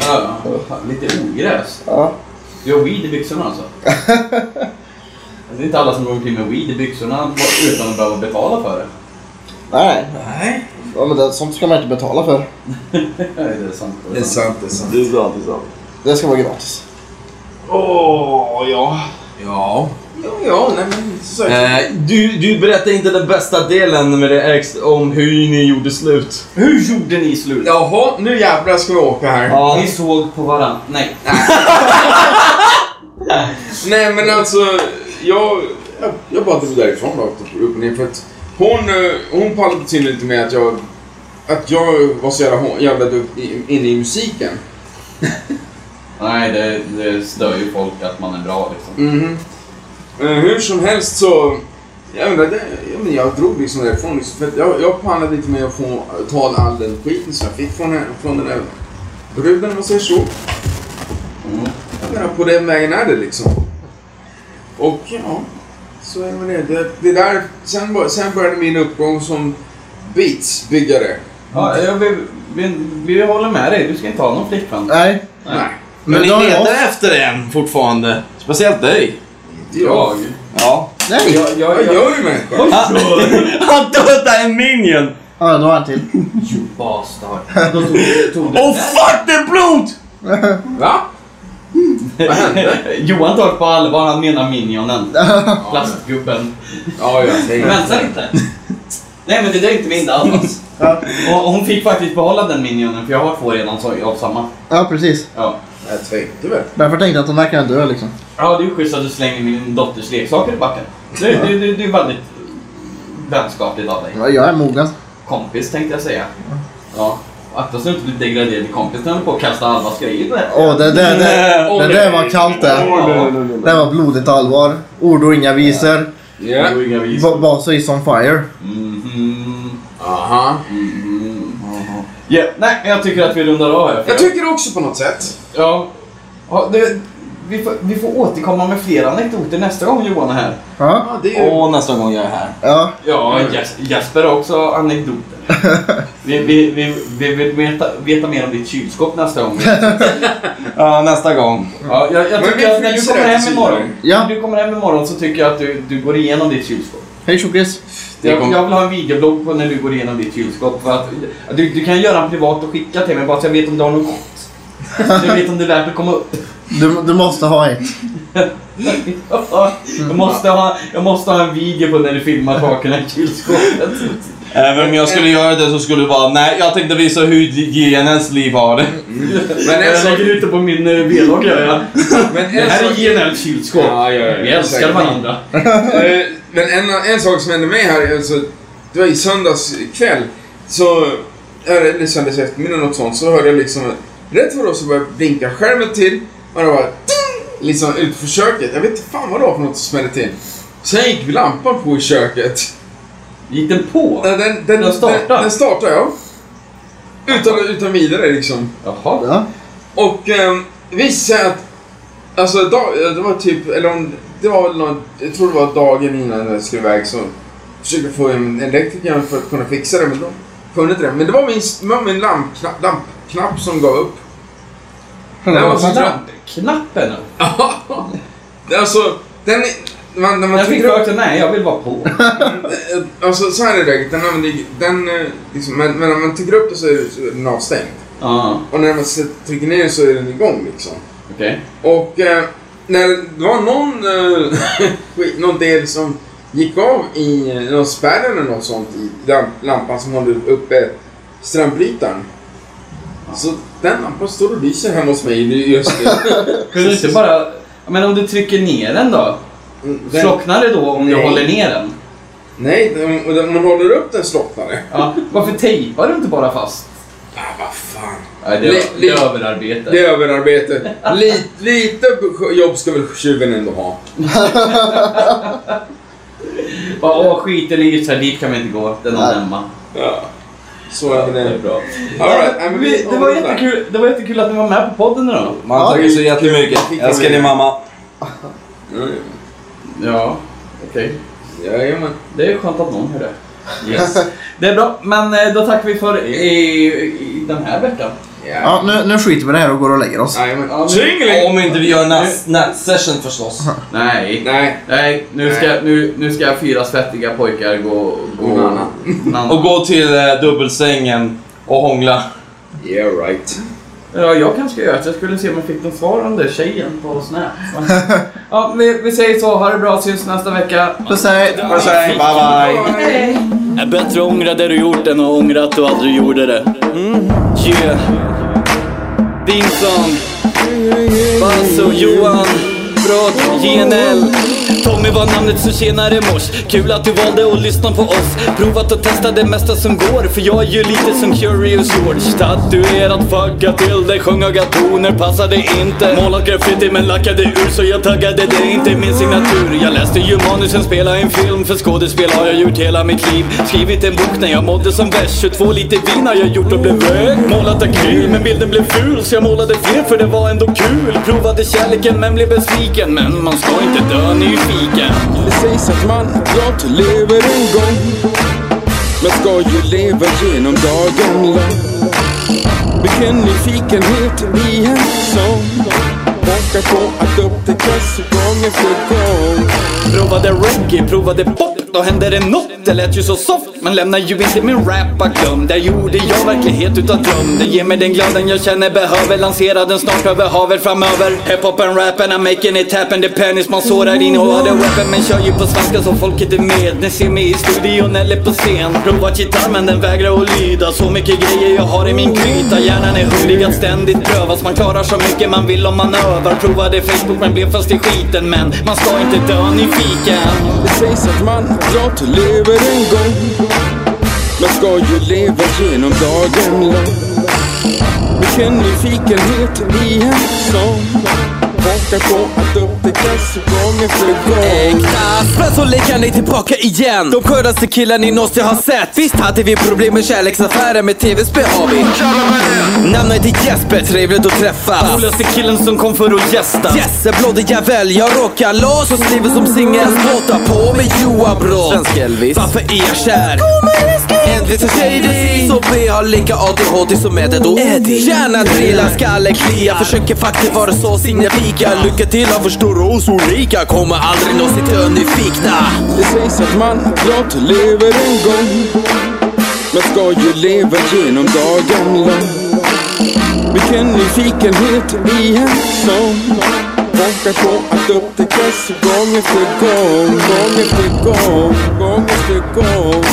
Ja, fan, lite ogräs. Ja. Du har weed i byxorna alltså. Det är inte alla som går omkring med weed i byxorna utan att behöva betala för det. Nej. Nej. Ja, men det, sånt ska man inte betala för. det är sant. Det är sant, det är sant. Det är sant, det är sant. Det ska vara gratis. Åh, ja. Ja. Ja, ja, nej men så. Eh, du, du berättade inte den bästa delen med det ex om hur ni gjorde slut. Hur gjorde ni slut? Jaha, nu jävlar ska vi åka här. Ni såg på varandra. Nej. Nej men alltså, jag, jag, jag bara drog därifrån rakt upp och ner för att hon, eh, hon pallade till lite med att jag, att jag var så jävla, hå- jävla dukt i- inne i musiken. Nej, det, det stör ju folk att man är bra liksom. Mhm. Eh, Hur som helst så, jag undrar, det, jag, men jag drog liksom därifrån liksom, för att jag, jag pallade lite med att få ta all den skiten som jag fick från, den- från den där bruden om man säger så. Jag menar, på den vägen är det liksom. Och ja, så är det det. det, det där, sen, bör- sen började min uppgång som beatsbyggare. Ja, jag, vi, vi, vi håller med dig. Du ska inte ha någon flickvän. Nej. Nej, Men, Men ni då har letar jag- efter en fortfarande. Speciellt dig. inte jag. Ja. Nej. Jag, jag, Jag jag, gör ju människor. Ah. Han dödade en minion! Ja, då har han till. You bastard. Då tog, tog du... Oh fuck det är blod! Va? Vad hände? Johan tar på allvar, han menar minionen. Plastgubben. Ja, jag tänker. Vänta inte. Nej men det där är inte min alls. Och hon fick faktiskt behålla den minionen för jag har två redan så av samma. Ja, precis. Jag tänkte väl. Därför tänkte jag att de verkar dö liksom. Ja det är ju schysst att du slänger min dotters leksaker i backen. Det, det, det, det är väldigt vänskapligt av dig. Ja, Jag är mogen. Kompis tänkte jag säga. Ja. Akta så att du inte blir degraderad till kompis när du håller på att kasta Alvas grejer på det här. Åh, det, det, det, Nej. det där var kallt det. Det var blodigt allvar. Ord och inga visor. Ja. Och inga vis. Va- Vasa is on fire. Mhm. Aha. Ja, nej, jag tycker att vi rundar av här. Jag tycker också på något sätt. Ja. ja det, vi, får, vi får återkomma med fler anekdoter nästa gång Johan är här. Ja, Ja, det är ju... Och nästa gång jag är här. ja. Ja, Jes- Jesper har också anekdoter. Vi, vi, vi, vi vill veta, veta mer om ditt kylskåp nästa gång. Ja, nästa gång. Ja, jag, jag Men vi tycker att när du fryser kommer det hem till imorgon, sidan. Ja. när du kommer hem imorgon så tycker jag att du, du går igenom ditt kylskåp. Hej tjockis. Det Jag, kommer- jag vill ha en videoblogg på när du går igenom ditt kylskåp. För att, du, du kan göra en privat och skicka till mig bara så jag vet om du har något gott. Så jag vet om det är värt att komma upp. Du, du måste ha ett. jag, måste ha, jag måste ha en video på när du filmar sakerna i kylskåpet. Även om jag skulle göra det så skulle du bara, nej jag tänkte visa hur genens liv har det. Men en Jag sak... lägger ut det på min eh, vlogg gör jag. Men Det en här är sak... Genels kylskåp. Ja, ja, ja, Vi älskar säkert. varandra. Eh, Men en, en sak som hände mig här, alltså, det var i söndags kväll, så, eller söndags eftermiddag något sånt, så hörde jag liksom, rätt vad det var så började blinka skärmen till, och det var ting, liksom ut för köket. Jag vet inte fan vad det var för något som smällde till. Sen gick lampan på i köket. Gick den på? Den, den, den, Den startade? Den, den startade, ja. Utan, utan vidare liksom. Jaha. Ja. Och eh, visade sig att, alltså dag, det var typ, eller om, det var väl någon, jag tror det var dagen innan jag skulle iväg så försökte jag få en elektriker för att kunna fixa det men de kunde inte det. Men det var min, det var min lampknapp, lampknapp som gav upp. Den var så trött. Knappen? Alltså, den, man, när man Jag fick trycker upp för mig nej, jag vill vara på. Eh, Alltså så här är läget, den använder ju- den, eh, liksom, men, men när man trycker upp det så är det- så är den avstängd. Ja, Och när man sätter- trycker ner så är den igång liksom. okej. Och eh, när det var någon, eh, skit- någon del som gick av i eh, någon spärr eller något sånt i den lampan som håller uppe strömbrytaren. Så den lampan står och lyser hemma hos mig nu just nu. Kunde du inte bara... Men om du trycker ner den då? Mm, Den- Slocknar det då om du Nej. håller ner den? Nej, den- och den- om man håller upp den slocknar det. Ja. Varför tejpar du inte bara fast? Ah, vad fan. Nej, det- det är överarbete. Det är överarbete. Lite, lite jobb ska väl tjuven ändå ha. Bara, åh, skiten är just här, dit kan vi inte gå. Den har Nej. hemma. Ja. Så är Det är det. bra. All right, nej, men vi- Det var jättekul, det var jättekul att ni var med på podden idag. Man tackar så jättemycket. Älskar din mamma. Ja, okej. Jajamän. Det är skönt att någon hör det. Yes. det är bra, men eh, då tackar vi för i, i den här veckan. Ja, nu, nu skiter vi i det här och går och lägger oss. Nej, men... Om inte vi gör en natt- natt-session förstås. Nej. Nej. Nej, nu ska, nu, nu ska fyra svettiga pojkar gå... gå Nana. Nana. Och gå till eh, dubbelsängen och hångla. Yeah right. Ja, jag kanske ska göra att jag skulle se om jag fick något svar om det, tjejen på Snap. Ja, vi, vi säger så. Ha det bra, syns nästa vecka. Puss hej! Puss och hej, bye bye. Är bättre ångra det du gjort än att ångra att du aldrig gjorde det. Mm. Yeah. Dingsson. Basso, Johan. Brott, JNL. Tommy var namnet som tjenare mors. Kul att du valde att lyssna på oss. Provat att testa det mesta som går. För jag är ju lite som Curious George. Tatuerat, fucka till det. Sjöng höga toner, passade inte. Målat graffiti men lackade ur så jag taggade det. Inte min signatur. Jag läste ju manusen, spelade en film. För skådespel har jag gjort hela mitt liv. Skrivit en bok när jag mådde som värst. 22 liter vin har jag gjort och blev röd. Målat akryl men bilden blev ful. Så jag målade fler för det var ändå kul. Provade kärleken men blev besviken. Men man ska inte dö nyfiken. Det sägs att man blott lever en gång Man ska ju leva genom dagen lång Vilken nyfikenhet i en sång Pockar på att upptäckas gång efter gång Provade reggae, provade pop, då hände det nåt. Det lät ju så soft, men lämnar ju inte min rap bakom. Där gjorde jag verklighet utav dröm. Det ger mig den glöden jag känner behöver. Lansera den snart över havet framöver. Hiphopen, rappen, I'm making it happen. Det penis man sårar in och har det weapon. Men kör ju på svenska så folket är med. Ni ser mig i studion eller på scen. Provat gitarr men den vägrar att lyda. Så mycket grejer jag har i min gryta. Hjärnan är hungrig att ständigt prövas. Man klarar så mycket man vill om man övar. Provade Facebook men blev fast i skiten. Men man ska inte dö nyfiken. Det sägs att man blott lever en gång Man ska ju leva genom dagen lång Vilken nyfikenhet i en sång Pockar på att upptäckas gång efter gång Äkta espresso lekar ni tillbaka igen De skönaste killar ni någonsin har sett Visst hade vi problem med kärleksaffären med tv-spel har vi Namnet är Jesper, trevligt att träffas Coolaste killen som kom för att gästa Yes, en blådig jävel, jag rockar loss och skriver som singel Låta på med Johan Brott Svensk Elvis Varför är jag kär? Envis och shady Så B har lika ADHD som Eddie och Eddie Hjärnan drillar, skallen kliar Försöker faktiskt vara så signifika Lycka till, han förstår oss olika Kommer aldrig någonsin dö nyfikna Det sägs att man blott lever en gång Man ska ju leva genom dagen lång Vilken nyfikenhet i en sång Pockar på att upptäckas gång efter gång Gång efter gång, gång efter gång